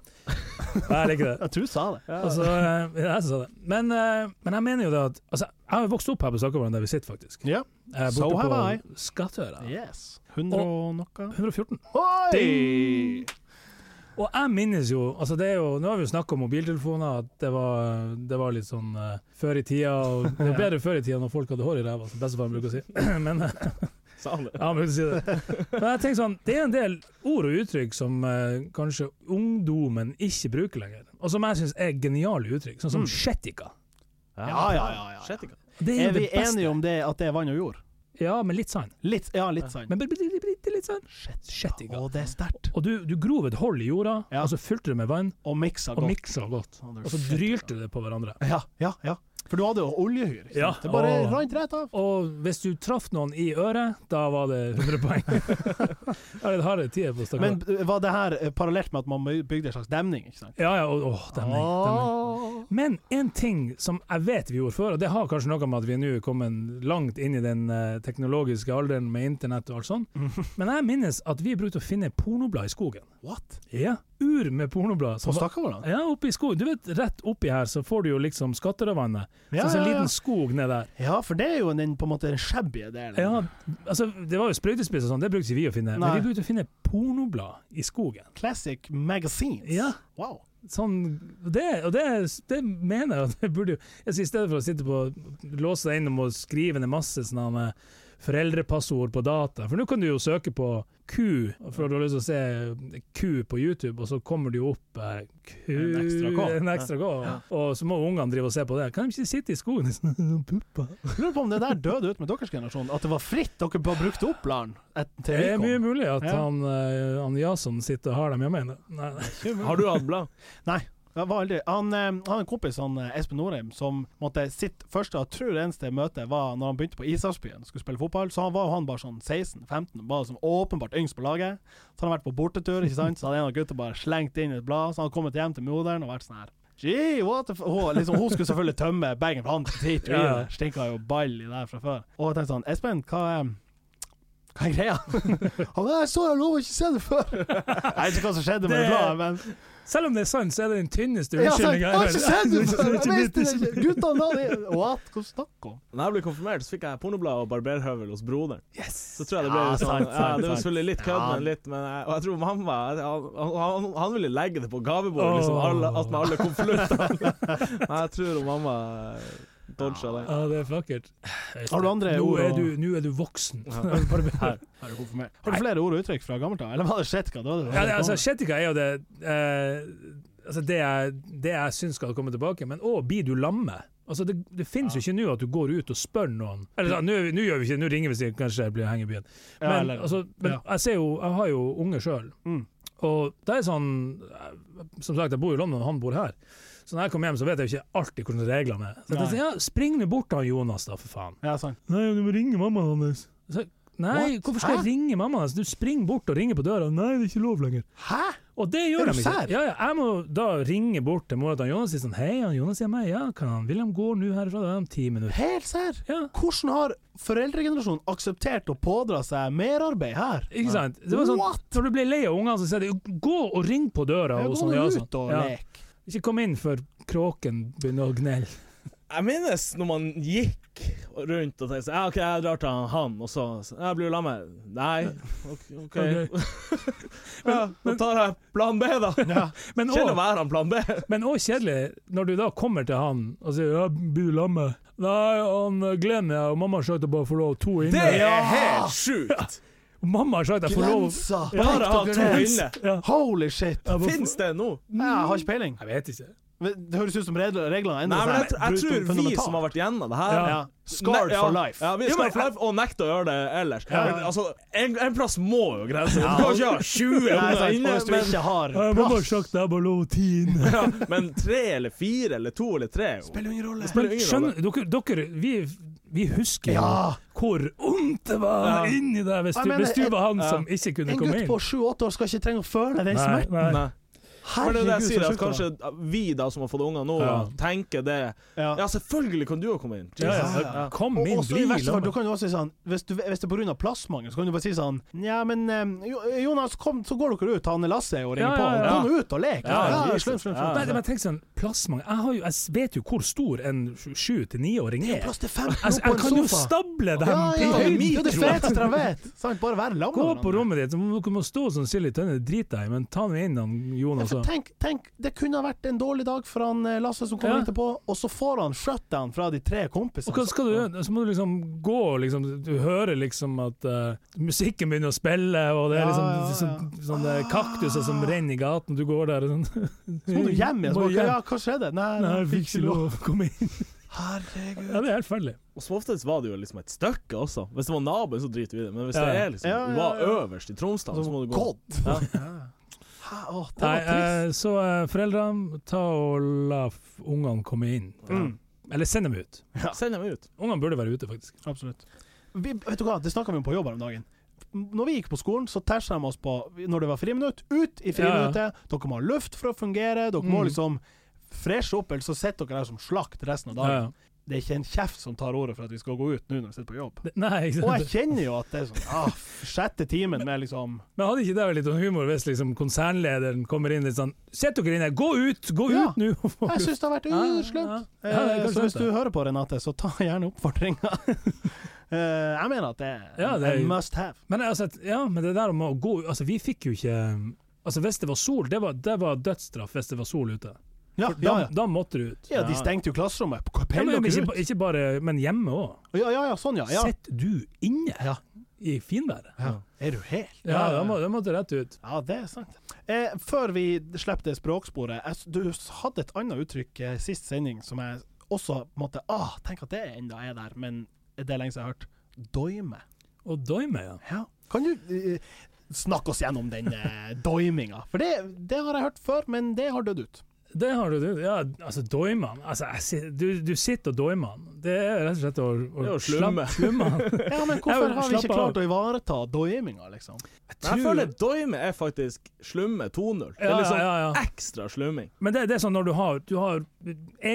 [SPEAKER 2] Jeg liker det.
[SPEAKER 1] Ja, du sa det.
[SPEAKER 2] Altså, eh, det er jeg som sa det. Men, eh, men jeg mener jo det at altså, Jeg har jo vokst opp her på Stakkevollen, der vi sitter, faktisk.
[SPEAKER 1] Ja.
[SPEAKER 2] Jeg er
[SPEAKER 1] So
[SPEAKER 2] borte
[SPEAKER 1] have
[SPEAKER 2] på
[SPEAKER 1] I.
[SPEAKER 2] Skattøra.
[SPEAKER 1] Yes. 100 og noe.
[SPEAKER 2] 114.
[SPEAKER 1] Oi!
[SPEAKER 2] Og jeg minnes jo, altså det er jo Nå har vi jo snakka om mobiltelefoner, at det var, det var litt sånn eh, før i tida og Det var bedre før i tida når folk hadde hår i ræva, som bestefaren bruker å si. Men eh,
[SPEAKER 3] Sa han det?
[SPEAKER 2] ja, han bruker å si det. Men jeg tenker sånn, det er en del ord og uttrykk som eh, kanskje ungdommen ikke bruker lenger, og som jeg syns er geniale uttrykk, sånn
[SPEAKER 1] Mm.
[SPEAKER 2] som shettika.
[SPEAKER 1] Ja, ja, ja, ja.
[SPEAKER 3] Shit, ikke.
[SPEAKER 2] Det er,
[SPEAKER 1] Er
[SPEAKER 2] jo
[SPEAKER 1] vi
[SPEAKER 2] det beste.
[SPEAKER 1] enige om det at det er vann og jord?
[SPEAKER 2] Ja, men litt sann.
[SPEAKER 1] Litt, ja, litt sant.
[SPEAKER 2] Men bitte bitte- bitte litt sann. Shettika.
[SPEAKER 1] Å, det er sterkt.
[SPEAKER 2] Og du, du grov et hull i jorda,
[SPEAKER 1] Ja.
[SPEAKER 2] og så fylte du med vann,
[SPEAKER 1] Og miksa
[SPEAKER 2] og
[SPEAKER 1] godt.
[SPEAKER 2] miksa godt.
[SPEAKER 1] Å, det er
[SPEAKER 2] Og så
[SPEAKER 1] shettika.
[SPEAKER 2] drylte du det på hverandre.
[SPEAKER 1] Ja, ja, ja. For du hadde jo oljehyr. ikke sant?
[SPEAKER 2] Ja.
[SPEAKER 1] Det bare
[SPEAKER 2] Åh.
[SPEAKER 1] rant rett av.
[SPEAKER 2] Og hvis du traff noen i øret, da var det 100 poeng. Da er det harde tider på stakkar.
[SPEAKER 1] Men eh, var det her eh, parallelt med at man bygde en slags demning? ikke sant?
[SPEAKER 2] Ja, ja, og- åh, demning, demning. Men en ting som jeg vet vi gjorde før, og det har kanskje noe med at vi nå er kommet langt inn i den eh, teknologiske alderen med internett og alt sånt, men jeg minnes at vi brukte å finne pornoblad i skogen.
[SPEAKER 1] What?
[SPEAKER 2] Ja, ur med pornoblad. som
[SPEAKER 1] På
[SPEAKER 2] var-
[SPEAKER 1] Stakkavollan?
[SPEAKER 2] Ja, oppe i skogen. Du vet, rett oppi her så får du jo liksom Skatterødvannet.
[SPEAKER 1] Ja,
[SPEAKER 2] sånn som
[SPEAKER 1] ja,
[SPEAKER 2] en
[SPEAKER 1] ja.
[SPEAKER 2] liten skog ned der.
[SPEAKER 1] Ja, for det er jo den på en måte den shabby delen.
[SPEAKER 2] Ja, altså, det var jo sprøytespiss og sånn, det brukte ikke vi å finne.
[SPEAKER 1] Nei.
[SPEAKER 2] Men vi brukte å finne pornoblad i skogen.
[SPEAKER 1] Classic magazines.
[SPEAKER 2] Ja.
[SPEAKER 1] Wow.
[SPEAKER 2] Sånn, det, og det, det mener jeg at det burde jo altså, I stedet for å sitte på låse deg innom og skrive ned masse sånne eh, foreldrepassord på data For nå kan du jo søke på ku, for du har lyst til å se ku på YouTube, og så kommer det jo opp eh, ku
[SPEAKER 1] En ekstra K.
[SPEAKER 2] en ekstra K. Og så må ungene drive og se på det. Kan de ikke sitte i skogen og sånn puppa?
[SPEAKER 1] Lurer på om det der døde ut med deres generasjon? At det var fritt? Dere bare brukte opp laren? et- til
[SPEAKER 2] Det er
[SPEAKER 1] Rikon.
[SPEAKER 2] mye mulig at
[SPEAKER 1] Ja.
[SPEAKER 2] han, eh, han Jason sitter og har dem hjemme ennå. Nei, nei.
[SPEAKER 3] Har du hatt blad?
[SPEAKER 1] Jeg var aldri- Han eh, har en kompis, han eh, Espen Norheim, som måtte sitt første og tror eneste møte var når han begynte på Ishavsbyen, skulle spille fotball. Så han var jo han bare sånn 16-15, var som åpenbart yngst på laget. Så hadde han vært på bortetur, ikke sant? så hadde en av gutta bare slengt inn i et blad. Så hadde han kommet hjem til moderen og vært sånn her Gee, what the f hun, liksom, hun skulle selvfølgelig tømme bagen, for han driter jo i
[SPEAKER 2] Ja.
[SPEAKER 1] det. Stinka jo ball i det her fra før. Og jeg tenkte sånn Espen, hva er hva er greia? Han bare, jeg så jeg lover ikke se det før! Jeg vet ikke hva som skjedde med det
[SPEAKER 2] Det-
[SPEAKER 1] bladet, men
[SPEAKER 2] Selv om det er sant, så er det den tynneste
[SPEAKER 1] ja, altså, sant.
[SPEAKER 2] unnskyldninga
[SPEAKER 1] Jeg har ikke sett det før! Jeg visste det ikke! Guttene la det What? Hva snakker om?
[SPEAKER 3] Da jeg ble konfirmert, så fikk jeg pornoblad og barberhøvel hos broderen. Så tror jeg det ble
[SPEAKER 1] Ja,
[SPEAKER 3] sånn
[SPEAKER 1] sant,
[SPEAKER 3] ja,
[SPEAKER 1] sant,
[SPEAKER 3] Det var
[SPEAKER 1] sant.
[SPEAKER 3] selvfølgelig litt kødd,
[SPEAKER 1] Ja.
[SPEAKER 3] men litt men jeg, Og jeg tror mamma han, han, han ville legge det på gavebordet, liksom,
[SPEAKER 2] Åh.
[SPEAKER 3] alle, at med alle konvoluttene. Men jeg tror mamma dodga det.
[SPEAKER 2] Ja, det er vakkert.
[SPEAKER 1] Har du andre
[SPEAKER 2] nå
[SPEAKER 1] ord
[SPEAKER 2] Er
[SPEAKER 1] å-
[SPEAKER 2] du, nå er du voksen.
[SPEAKER 3] Ja.
[SPEAKER 2] Bare-
[SPEAKER 1] Her. Har du flere ord og uttrykk fra gammelt av? Eller var det Shetka? Det var det-
[SPEAKER 2] ja, det, altså, Kjetika er jo det eh, altså, det, jeg, det jeg syns skal komme tilbake, men òg blir du lamme? Altså, det, det finnes jo ikke nå at du går ut og spør noen Eller da, nå nå gjør vi ikke det, nå ringer vi sikkert, kanskje jeg blir hengebyen.
[SPEAKER 1] Ja,
[SPEAKER 2] Men,
[SPEAKER 1] eller-
[SPEAKER 2] altså, men
[SPEAKER 1] ja.
[SPEAKER 2] jeg ser jo Jeg har jo unge sjøl.
[SPEAKER 1] Mm.
[SPEAKER 2] Og det er sånn eh, Som sagt, jeg bor i London, og han bor her. Så når jeg kommer hjem, så vet jeg jo ikke alltid hvordan reglene er. Så jeg
[SPEAKER 1] Nei.
[SPEAKER 2] sier, ja, Spring nå bort til han Jonas, da, for faen.
[SPEAKER 1] Ja, sånn. sant.
[SPEAKER 2] Nei, du må ringe mammaen hans. Så, jeg, nei, hvorfor skal jeg ringe mammaen hans? Du springer bort og ringer på døra. Nei, det er ikke lov lenger.
[SPEAKER 1] Hæ?
[SPEAKER 2] Og det
[SPEAKER 1] Er
[SPEAKER 2] gjør
[SPEAKER 1] du
[SPEAKER 2] de ikke.
[SPEAKER 1] sær?
[SPEAKER 2] Ja, ja, jeg må da ringe bort til mora til han Jonas og si sånn Hei, han Jonas er meg. Ja, kan han William gå nå herfra? Det er om ti minutter.
[SPEAKER 1] Helt serr?
[SPEAKER 2] Ja,
[SPEAKER 1] Hvordan har foreldregenerasjonen akseptert å pådra seg merarbeid her?
[SPEAKER 2] ikke sant? Det var sånn,
[SPEAKER 1] What?
[SPEAKER 2] Når du blir lei av ungene, så sier de «Jo, gå og ring på døra.
[SPEAKER 1] Jeg
[SPEAKER 2] og sånn,
[SPEAKER 1] går
[SPEAKER 2] ja,
[SPEAKER 1] ut
[SPEAKER 2] sånn.
[SPEAKER 1] og
[SPEAKER 2] Ja.
[SPEAKER 1] lek.
[SPEAKER 2] Ikke kom inn før kråken begynner å gnelle.
[SPEAKER 3] Jeg minnes når man gikk rundt og tenkte sånn, ja, OK, jeg drar til han, og så så, Jeg blir lammet. Nei. OK.
[SPEAKER 2] Ok.
[SPEAKER 3] ja, da tar jeg plan B, da. Kjell
[SPEAKER 2] Men
[SPEAKER 3] og
[SPEAKER 2] også-
[SPEAKER 3] være han plan B.
[SPEAKER 2] men òg kjedelig, når du da kommer til han og sier ja, 'Bu lamme'. Nei, han eh, Glenn ja, og mamma har sagt at jeg bare får lov to
[SPEAKER 3] Det
[SPEAKER 2] inne.
[SPEAKER 3] er helt sjukt!
[SPEAKER 2] Og mamma har sagt at jeg får lov
[SPEAKER 1] Grensa!
[SPEAKER 3] Bare ha to
[SPEAKER 1] Grensa.
[SPEAKER 3] inne.
[SPEAKER 2] ja.
[SPEAKER 1] Holy shit!
[SPEAKER 2] jeg, bare,
[SPEAKER 3] Fins det nå?
[SPEAKER 1] Jeg har ikke peiling.
[SPEAKER 2] jeg vet ikke.
[SPEAKER 1] Det høres ut som regler- reglene har
[SPEAKER 3] Nei, men jeg,
[SPEAKER 1] endret
[SPEAKER 3] tr- jeg tror vi som har vært igjennom det her
[SPEAKER 2] Ja.
[SPEAKER 1] sånn ja. Scarred
[SPEAKER 3] Ne- ja.
[SPEAKER 1] for life.
[SPEAKER 3] Ja, vi er
[SPEAKER 2] Jo, men-
[SPEAKER 3] scarred for life, og nekter å gjøre det ellers.
[SPEAKER 2] Ja.
[SPEAKER 3] Men, Altså, en, en plass må jo grense. Du kan ikke ha 20
[SPEAKER 1] Nei, sant,
[SPEAKER 3] unger
[SPEAKER 1] og
[SPEAKER 3] inne,
[SPEAKER 1] hvis du
[SPEAKER 3] men,
[SPEAKER 1] ikke har
[SPEAKER 2] Ja, Mamma har
[SPEAKER 1] plass
[SPEAKER 2] sagt at jeg bare lov ti inne.
[SPEAKER 3] ja, men tre eller fire eller to eller tre jo.
[SPEAKER 1] Spiller ingen rolle.
[SPEAKER 2] Men
[SPEAKER 3] spiller ingen
[SPEAKER 2] skjønner dere, dere vi, vi husker jo
[SPEAKER 1] Ja!
[SPEAKER 2] hvor vondt det var
[SPEAKER 3] Ja.
[SPEAKER 2] inni deg hvis
[SPEAKER 1] Jeg
[SPEAKER 2] du,
[SPEAKER 1] mener,
[SPEAKER 2] hvis du
[SPEAKER 1] en-
[SPEAKER 2] var han
[SPEAKER 3] ja.
[SPEAKER 2] som ikke kunne
[SPEAKER 1] En
[SPEAKER 2] komme
[SPEAKER 1] gutt
[SPEAKER 2] inn.
[SPEAKER 1] på sju-åtte år skal ikke trenge å føle den
[SPEAKER 2] Nei,
[SPEAKER 1] smerten.
[SPEAKER 2] nei.
[SPEAKER 3] Nei. Men det er det jeg
[SPEAKER 1] Herregud,
[SPEAKER 3] sier,
[SPEAKER 1] så
[SPEAKER 3] at
[SPEAKER 1] sjukt det
[SPEAKER 3] kanskje vi da som har fått unger nå,
[SPEAKER 2] Ja.
[SPEAKER 3] tenker det
[SPEAKER 1] var.
[SPEAKER 3] Ja, selvfølgelig kan du jo komme inn.
[SPEAKER 2] Ja, ja,
[SPEAKER 1] Jesus.
[SPEAKER 2] ja. Kom
[SPEAKER 1] Og
[SPEAKER 2] inn,
[SPEAKER 1] også
[SPEAKER 2] bli
[SPEAKER 1] i verste fall,
[SPEAKER 2] lammet.
[SPEAKER 1] du kan jo også si sånn Hvis, du, hvis det er pga. plassmangel, så kan du bare si sånn Ja, men eh, Jo- Jonas, kom, så går dere ut, han Lasse, og ringer
[SPEAKER 2] Ja, ja,
[SPEAKER 1] på.
[SPEAKER 2] ja.
[SPEAKER 1] Kom ut og lek!
[SPEAKER 3] Ja,
[SPEAKER 1] Ja,
[SPEAKER 3] Jesus.
[SPEAKER 1] slum, slum, slum.
[SPEAKER 3] Ja.
[SPEAKER 2] Nei, men tenk sånn, plassmangel jeg, har jo, jeg vet jo hvor stor en sju til niåring
[SPEAKER 1] Det er
[SPEAKER 2] er.
[SPEAKER 1] plass til 15
[SPEAKER 2] Altså,
[SPEAKER 1] på
[SPEAKER 2] jeg
[SPEAKER 1] en
[SPEAKER 2] kan jo
[SPEAKER 1] sofa.
[SPEAKER 2] stable dem
[SPEAKER 1] Ja, ja,
[SPEAKER 2] i
[SPEAKER 1] ja, det er jo det
[SPEAKER 2] høyden.
[SPEAKER 1] feteste jeg vet! Sant? Bare være lam med
[SPEAKER 2] Gå på
[SPEAKER 1] hverandre.
[SPEAKER 2] rommet ditt, så må dere må stå som sild i tønne, drit deg, men ta nå inn altså. han
[SPEAKER 1] Ja,
[SPEAKER 2] Jonas.
[SPEAKER 1] for
[SPEAKER 2] og-
[SPEAKER 1] Altså, tenk, tenk, det kunne ha vært en dårlig dag for han eh, Lasse som kommer
[SPEAKER 2] Ja.
[SPEAKER 1] etterpå, og så får han shutdown fra de tre kompisene.
[SPEAKER 2] Og hva skal du
[SPEAKER 1] sånn.
[SPEAKER 2] gjøre? Så må du liksom gå og liksom, du hører liksom at eh, musikken begynner å spille, og det er
[SPEAKER 1] Ja,
[SPEAKER 2] liksom
[SPEAKER 1] ja, ja.
[SPEAKER 2] Sånn, sånne kaktuser som renner i gaten, du går der og sånn.
[SPEAKER 1] Så må du hjem igjen. Så
[SPEAKER 2] Må
[SPEAKER 1] bare,
[SPEAKER 2] du hjem?
[SPEAKER 1] Ja, hva skjedde? Nei,
[SPEAKER 2] Nei,
[SPEAKER 1] jeg
[SPEAKER 2] jeg fikk ikke lov å komme inn.
[SPEAKER 1] Herregud.
[SPEAKER 2] Ja, det er helt forferdelig.
[SPEAKER 3] Og Som oftest var det jo liksom et stykke også. Hvis det var naboen, så driter vi i det. Men hvis
[SPEAKER 2] Ja,
[SPEAKER 3] det
[SPEAKER 2] ja.
[SPEAKER 3] er liksom,
[SPEAKER 1] Ja, ja,
[SPEAKER 3] du var
[SPEAKER 1] ja.
[SPEAKER 3] øverst i Tromsdalen, så må du gå
[SPEAKER 1] Godt!
[SPEAKER 3] Ja.
[SPEAKER 1] Hæ, å, det
[SPEAKER 2] Nei,
[SPEAKER 1] var trist.
[SPEAKER 2] eh, så eh, foreldre, ta og la f- ungene komme inn.
[SPEAKER 1] Mm,
[SPEAKER 2] Eller send dem ut.
[SPEAKER 3] Send dem ut.
[SPEAKER 2] Ungene burde være ute, faktisk.
[SPEAKER 1] absolutt. Vi, vet du hva, det snakka vi om på jobb her om dagen. Når vi gikk på skolen, så tæsja de oss på når det var friminutt. Ut i friminuttet! Dere må ha luft for å fungere. Dere må
[SPEAKER 2] Mm.
[SPEAKER 1] liksom freshe opp, ellers så sitter dere der som slakt resten av
[SPEAKER 2] Ja,
[SPEAKER 1] dagen.
[SPEAKER 2] ja.
[SPEAKER 1] Det er ikke en kjeft som tar ordet for at vi skal gå ut nå når vi sitter på jobb.
[SPEAKER 2] Det- Nei, ikke
[SPEAKER 1] Og jeg
[SPEAKER 2] sant.
[SPEAKER 1] kjenner jo at det er sånn ah, f- Sjette timen med liksom
[SPEAKER 2] Men hadde ikke det vært litt sånn humor hvis liksom konsernlederen kommer inn litt sånn Sett dere inne, gå ut! Gå
[SPEAKER 1] Ja.
[SPEAKER 2] ut nå!
[SPEAKER 1] Jeg syns det har vært
[SPEAKER 2] Ja, ja, ja.
[SPEAKER 1] urslemt.
[SPEAKER 2] Ja, det
[SPEAKER 1] Eh,
[SPEAKER 2] er kanskje
[SPEAKER 1] Så hvis
[SPEAKER 2] sant,
[SPEAKER 1] du hører på, Renate, så ta gjerne oppfordringa. Eh, Jeg mener at det er
[SPEAKER 2] Ja, det er-
[SPEAKER 1] en must have.
[SPEAKER 2] Men altså, at- ja, men det der om å gå Altså, vi fikk jo ikke Altså, hvis det var sol, det var, det var dødsstraff hvis det var sol ute.
[SPEAKER 1] Ja,
[SPEAKER 2] For
[SPEAKER 1] ja,
[SPEAKER 2] da,
[SPEAKER 1] ja.
[SPEAKER 2] da måtte du ut.
[SPEAKER 1] ja, de stengte jo klasserommet.
[SPEAKER 2] Ja,
[SPEAKER 1] Kapell
[SPEAKER 2] men,
[SPEAKER 1] dere
[SPEAKER 2] ikke,
[SPEAKER 1] ut!
[SPEAKER 2] ba- ikke bare Men hjemme òg.
[SPEAKER 1] Ja, ja, ja, sånn, ja. ja.
[SPEAKER 2] Sitter du inne
[SPEAKER 1] Ja.
[SPEAKER 2] i finværet?
[SPEAKER 1] ja. Er du helt
[SPEAKER 2] Ja, da må- da måtte du rett ut.
[SPEAKER 1] Ja, det er sant. Eh, før vi slipper det språksporet, jeg, s- du s- hadde et annet uttrykk eh, sist sending som jeg også måtte ah, Tenk at det enda er der, men det er lenge siden jeg har hørt. Doime.
[SPEAKER 2] Og doime, ja.
[SPEAKER 1] Ja. Kan du eh, snakke oss gjennom den eh, doiminga? For det, det har jeg hørt før, men det har dødd ut.
[SPEAKER 2] Det har du, du. Ja, altså, doiman altså, jeg, si- du, du sitter og doimer han. Det er rett og slett å, å,
[SPEAKER 3] Det er å slumme.
[SPEAKER 2] slapp- slumme han.
[SPEAKER 1] Ja, men
[SPEAKER 2] Jeg
[SPEAKER 1] hvorfor
[SPEAKER 2] vil
[SPEAKER 1] har vi ikke
[SPEAKER 2] slappe av.
[SPEAKER 1] klart å ivareta doiminga, liksom?
[SPEAKER 3] Men jeg føler doime er faktisk slumme 2-0. Det er
[SPEAKER 2] Ja,
[SPEAKER 3] liksom
[SPEAKER 2] ja, ja, ja.
[SPEAKER 3] ekstra slumming.
[SPEAKER 2] Men det, det er sånn når du har Du har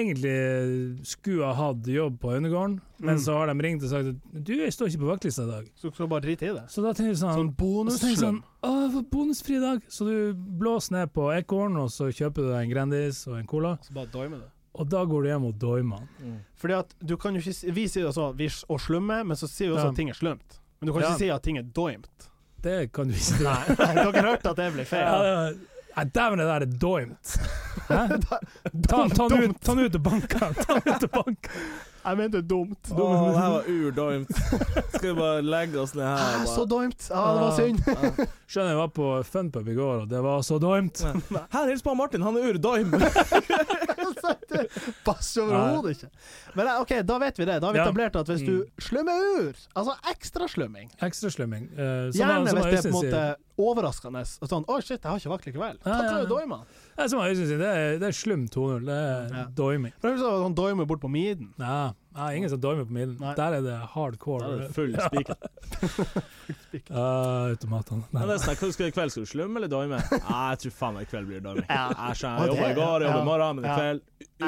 [SPEAKER 2] egentlig skulle ha hatt jobb på Undergården, men
[SPEAKER 1] Mm.
[SPEAKER 2] så har de ringt og sagt at du jeg står ikke på vaktlista i dag.
[SPEAKER 1] Så skal bare drite i det.
[SPEAKER 2] Så da tenker du sånn,
[SPEAKER 1] Sånn
[SPEAKER 2] så tenker du sånn
[SPEAKER 1] bonusslum.
[SPEAKER 2] Å, jeg får bonusfri i dag! Så du blåser ned på ekorn, og så kjøper du deg en Grandis og en Cola,
[SPEAKER 1] Så bare doime det.
[SPEAKER 2] og da går du hjem og doimer han.
[SPEAKER 1] Fordi at du kan jo ikke si Vi sier jo sånn vi s- å slumme, men så sier vi også
[SPEAKER 2] Ja.
[SPEAKER 1] at ting er slumt. Men du kan ikke
[SPEAKER 2] Ja.
[SPEAKER 1] si at ting er doimt.
[SPEAKER 2] Det kan du ikke Nei.
[SPEAKER 1] Dere hørte at det ble
[SPEAKER 2] Ja,
[SPEAKER 1] feil.
[SPEAKER 2] det- Nei, Dæven, det der er doimt! Hæ?
[SPEAKER 1] Da-
[SPEAKER 2] Ta, ta, han
[SPEAKER 1] dumt.
[SPEAKER 2] ut, ta han ut og bank han! Ta han ut og bank han.
[SPEAKER 1] Jeg mente dumt.
[SPEAKER 3] Å, det her var urdømt. Skal vi bare legge oss ned her?
[SPEAKER 1] Ah,
[SPEAKER 3] og
[SPEAKER 1] så
[SPEAKER 3] bare-
[SPEAKER 1] dumt! Ah, det var
[SPEAKER 2] Ah.
[SPEAKER 1] synd.
[SPEAKER 3] Ja.
[SPEAKER 2] Skjønner jeg var på funpub i går, og det var så dømt.
[SPEAKER 3] Her, hils på Martin, han er urdøm.
[SPEAKER 1] Så det passer overhodet ikke. Men eh, OK, da vet vi det. Da har vi
[SPEAKER 2] Ja. Mm.
[SPEAKER 1] etablert at hvis du slummer ur, altså ekstra slumming
[SPEAKER 2] Ekstraslumming.
[SPEAKER 1] Gjerne
[SPEAKER 2] sånn
[SPEAKER 1] hvis det er på en måte overraskende. Og sånn 'Å, shit, jeg har ikke vakt likevel'.
[SPEAKER 2] Ja,
[SPEAKER 1] Da
[SPEAKER 2] ja,
[SPEAKER 1] tar
[SPEAKER 2] ja.
[SPEAKER 1] du doima.
[SPEAKER 2] Nei, som Øystein sier, det er, det er slum 2-0. Det er
[SPEAKER 1] Ja.
[SPEAKER 2] doiming.
[SPEAKER 1] Prøv å sånn doime bort på miden.
[SPEAKER 2] Nei, nei, ingen som doimer på midden.
[SPEAKER 1] Nei.
[SPEAKER 2] Der er det hardcore.
[SPEAKER 3] Da er det full spiker.
[SPEAKER 2] Ah, automatene. Nei.
[SPEAKER 3] Men det er sånn, hva skal du i kveld? Skal du slumme eller dømme? Nei, jeg tror faen meg i kveld blir dømming.
[SPEAKER 1] Ja.
[SPEAKER 3] Jeg skjønner,
[SPEAKER 1] Og
[SPEAKER 3] jeg jobber i
[SPEAKER 1] det-
[SPEAKER 3] går, jeg jobber i
[SPEAKER 1] ja.
[SPEAKER 3] morgen, men i
[SPEAKER 1] Ja. Ah,
[SPEAKER 3] kveld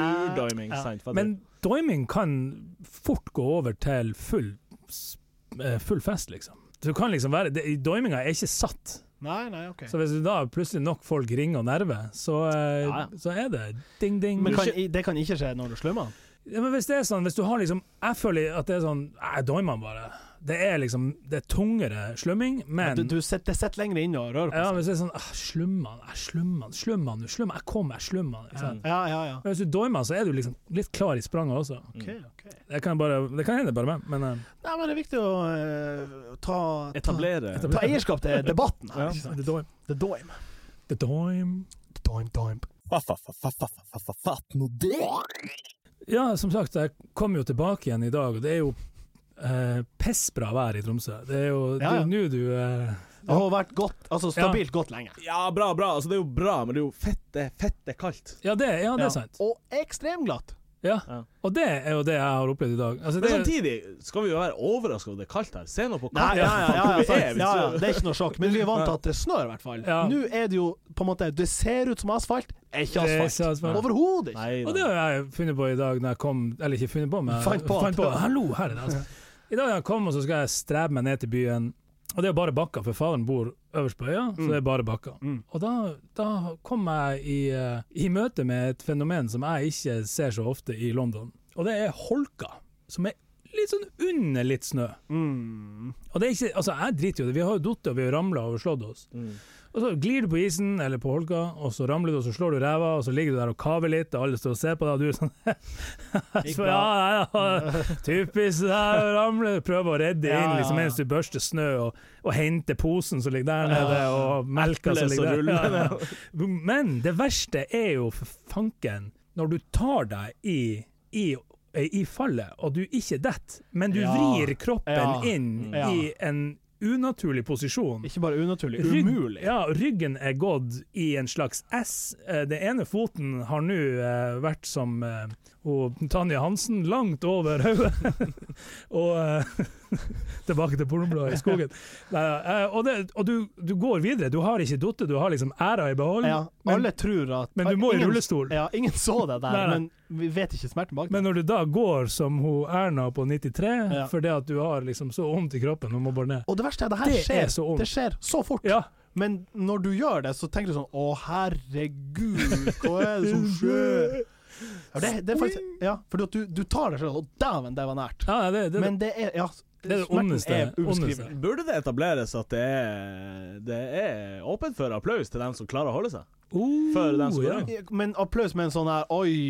[SPEAKER 3] urdømming.
[SPEAKER 1] Ja.
[SPEAKER 3] sant? fatter du?
[SPEAKER 2] Men doiming kan fort gå over til full, s- eh, full fest, liksom. Du kan liksom være, det- Doiminga er ikke satt.
[SPEAKER 1] Nei, nei, OK.
[SPEAKER 2] Så hvis du da plutselig nok folk ringer og nerver, så, eh,
[SPEAKER 3] Ja, ja.
[SPEAKER 2] så er det ding-ding.
[SPEAKER 1] Men
[SPEAKER 2] Men,
[SPEAKER 1] kan, i- det kan ikke skje når du slummer?
[SPEAKER 2] ja, men hvis det er sånn, hvis du har liksom Jeg føler at det er sånn Jeg doimer bare. Det er liksom Det er tungere slumming, men
[SPEAKER 1] Du, du sitter, det sitter lenger inne og rører på
[SPEAKER 2] Ja,
[SPEAKER 1] seg.
[SPEAKER 2] men så er det sånn ah, Slummer han, slummer han, slummer han, slummer han, jeg kommer, jeg slummer han. ikke sant?
[SPEAKER 1] Ja, ja, ja.
[SPEAKER 2] Men hvis du doimer, så er du liksom litt klar i spranget også.
[SPEAKER 1] OK, OK.
[SPEAKER 2] Det kan, bare, det kan hende bare meg, men eh,
[SPEAKER 1] Nei, men det er viktig å eh, ta, ta,
[SPEAKER 3] Etablere.
[SPEAKER 1] ta eierskap til debatten her. ikke sant?
[SPEAKER 2] det er doim.
[SPEAKER 1] The doim.
[SPEAKER 2] Det er doim.
[SPEAKER 1] The doim, doim.
[SPEAKER 4] Fatt nå det!
[SPEAKER 2] Ja, som sagt, jeg kom jo tilbake igjen i dag, og det er jo eh, pissbra vær i Tromsø. Det er jo det er
[SPEAKER 1] Ja, ja.
[SPEAKER 2] jo nå du eh,
[SPEAKER 1] Det har vært godt, altså stabilt godt lenge.
[SPEAKER 3] Ja, bra, bra. Altså, det er jo bra, men det er jo fette, fette kaldt.
[SPEAKER 2] ja, det, ja, det
[SPEAKER 1] Ja.
[SPEAKER 2] er sant.
[SPEAKER 1] Og ekstremglatt.
[SPEAKER 2] Ja.
[SPEAKER 3] Ja.
[SPEAKER 2] Og det er jo det jeg har opplevd i dag. Altså,
[SPEAKER 3] Men
[SPEAKER 2] det,
[SPEAKER 3] samtidig skal vi jo være overraska over det er kaldt her. Se nå på
[SPEAKER 1] Nei,
[SPEAKER 3] kaldt.
[SPEAKER 1] ja, ja, ja, ja,
[SPEAKER 3] Hvor vi
[SPEAKER 1] sant.
[SPEAKER 3] er,
[SPEAKER 1] ja, ja,
[SPEAKER 3] hvis du-
[SPEAKER 1] det er ikke noe sjokk. Men vi er vant til at det snør, i hvert fall.
[SPEAKER 2] Ja.
[SPEAKER 1] Nå er det jo på en måte Det ser ut som asfalt, er ikke
[SPEAKER 2] Det er
[SPEAKER 1] asfalt.
[SPEAKER 2] ikke asfalt.
[SPEAKER 1] Overhodet ikke.
[SPEAKER 3] Nei,
[SPEAKER 2] Og det har jeg funnet på i dag når jeg kom Eller ikke funnet på, men
[SPEAKER 1] Fant på.
[SPEAKER 2] Hallo, her er det altså. I dag når jeg kom, og så skal jeg strebe meg ned til byen. Og det er bare bakker, for faren bor øverst på øya, så det er bare bakker.
[SPEAKER 1] Mm.
[SPEAKER 2] Og da, da kom jeg i, eh, i møte med et fenomen som jeg ikke ser så ofte i London. Og det er holka, som er litt sånn under litt snø.
[SPEAKER 1] Mm.
[SPEAKER 2] Og det er ikke, altså Jeg driter jo i det, vi har jo datt og vi har ramla og slått oss.
[SPEAKER 3] Mm.
[SPEAKER 2] Og så glir du på isen eller på holka, og så ramler du og så slår du ræva, og så ligger du der og kaver litt, og alle står og ser på deg, og du er sånn
[SPEAKER 1] Gikk
[SPEAKER 2] så,
[SPEAKER 1] bra.
[SPEAKER 2] ja, ja, ja, Typisk det her ramler, prøver å redde
[SPEAKER 1] Ja,
[SPEAKER 2] inn
[SPEAKER 1] ja,
[SPEAKER 2] liksom,
[SPEAKER 1] ja.
[SPEAKER 2] mens du børster snø, og, og henter posen som ligger der nede, og melka som
[SPEAKER 3] Eplet som
[SPEAKER 2] ligger der.
[SPEAKER 3] ruller.
[SPEAKER 2] Ja, ja. Men det verste er jo for fanken når du tar deg i, i i fallet, og du ikke detter, men du
[SPEAKER 1] Ja.
[SPEAKER 2] vrir kroppen
[SPEAKER 1] Ja. mm,
[SPEAKER 2] inn
[SPEAKER 1] Ja.
[SPEAKER 2] i en unaturlig posisjon.
[SPEAKER 1] Ikke bare unaturlig,
[SPEAKER 2] Rygg-
[SPEAKER 1] umulig.
[SPEAKER 2] Ja, ryggen er gått i en slags S. Eh, Den ene foten har nå eh, vært som eh, og Tanja Hansen, langt over hodet. og eh, tilbake til pornobladet i skogen. Nei, eh, og det, og du, du går videre. Du har ikke datt, du har liksom æra i behold.
[SPEAKER 1] Ja,
[SPEAKER 2] men-
[SPEAKER 1] alle tror at
[SPEAKER 2] Men du må i
[SPEAKER 1] ingen,
[SPEAKER 2] rullestol.
[SPEAKER 1] Ja, ingen så det der,
[SPEAKER 2] Nei, nei.
[SPEAKER 1] men vi vet ikke smerten bak det.
[SPEAKER 2] Men når du da går som hun Erna på 93,
[SPEAKER 1] Ja.
[SPEAKER 2] fordi at du har liksom så vondt i kroppen og må bare ned
[SPEAKER 1] Og det verste er det her
[SPEAKER 2] Det er
[SPEAKER 1] skjer.
[SPEAKER 2] så vondt.
[SPEAKER 1] det skjer så fort.
[SPEAKER 2] Ja,
[SPEAKER 1] Men når du gjør det, så tenker du sånn Å, herregud, hva er det som skjer? Ja, det, det er faktisk, ja, fordi at du, du tar det selv, og dæven, det var nært.
[SPEAKER 2] ja det, det,
[SPEAKER 1] Men det er Ja,
[SPEAKER 2] det er det
[SPEAKER 1] smerten
[SPEAKER 2] ondeste-
[SPEAKER 1] er
[SPEAKER 2] ondeste.
[SPEAKER 1] ubeskrivelig.
[SPEAKER 3] Burde det etableres at det er, det er åpent for applaus til dem som klarer å holde seg?
[SPEAKER 2] Oh,
[SPEAKER 3] Før den som går
[SPEAKER 2] ja.
[SPEAKER 3] ut.
[SPEAKER 1] Men applaus med en sånn her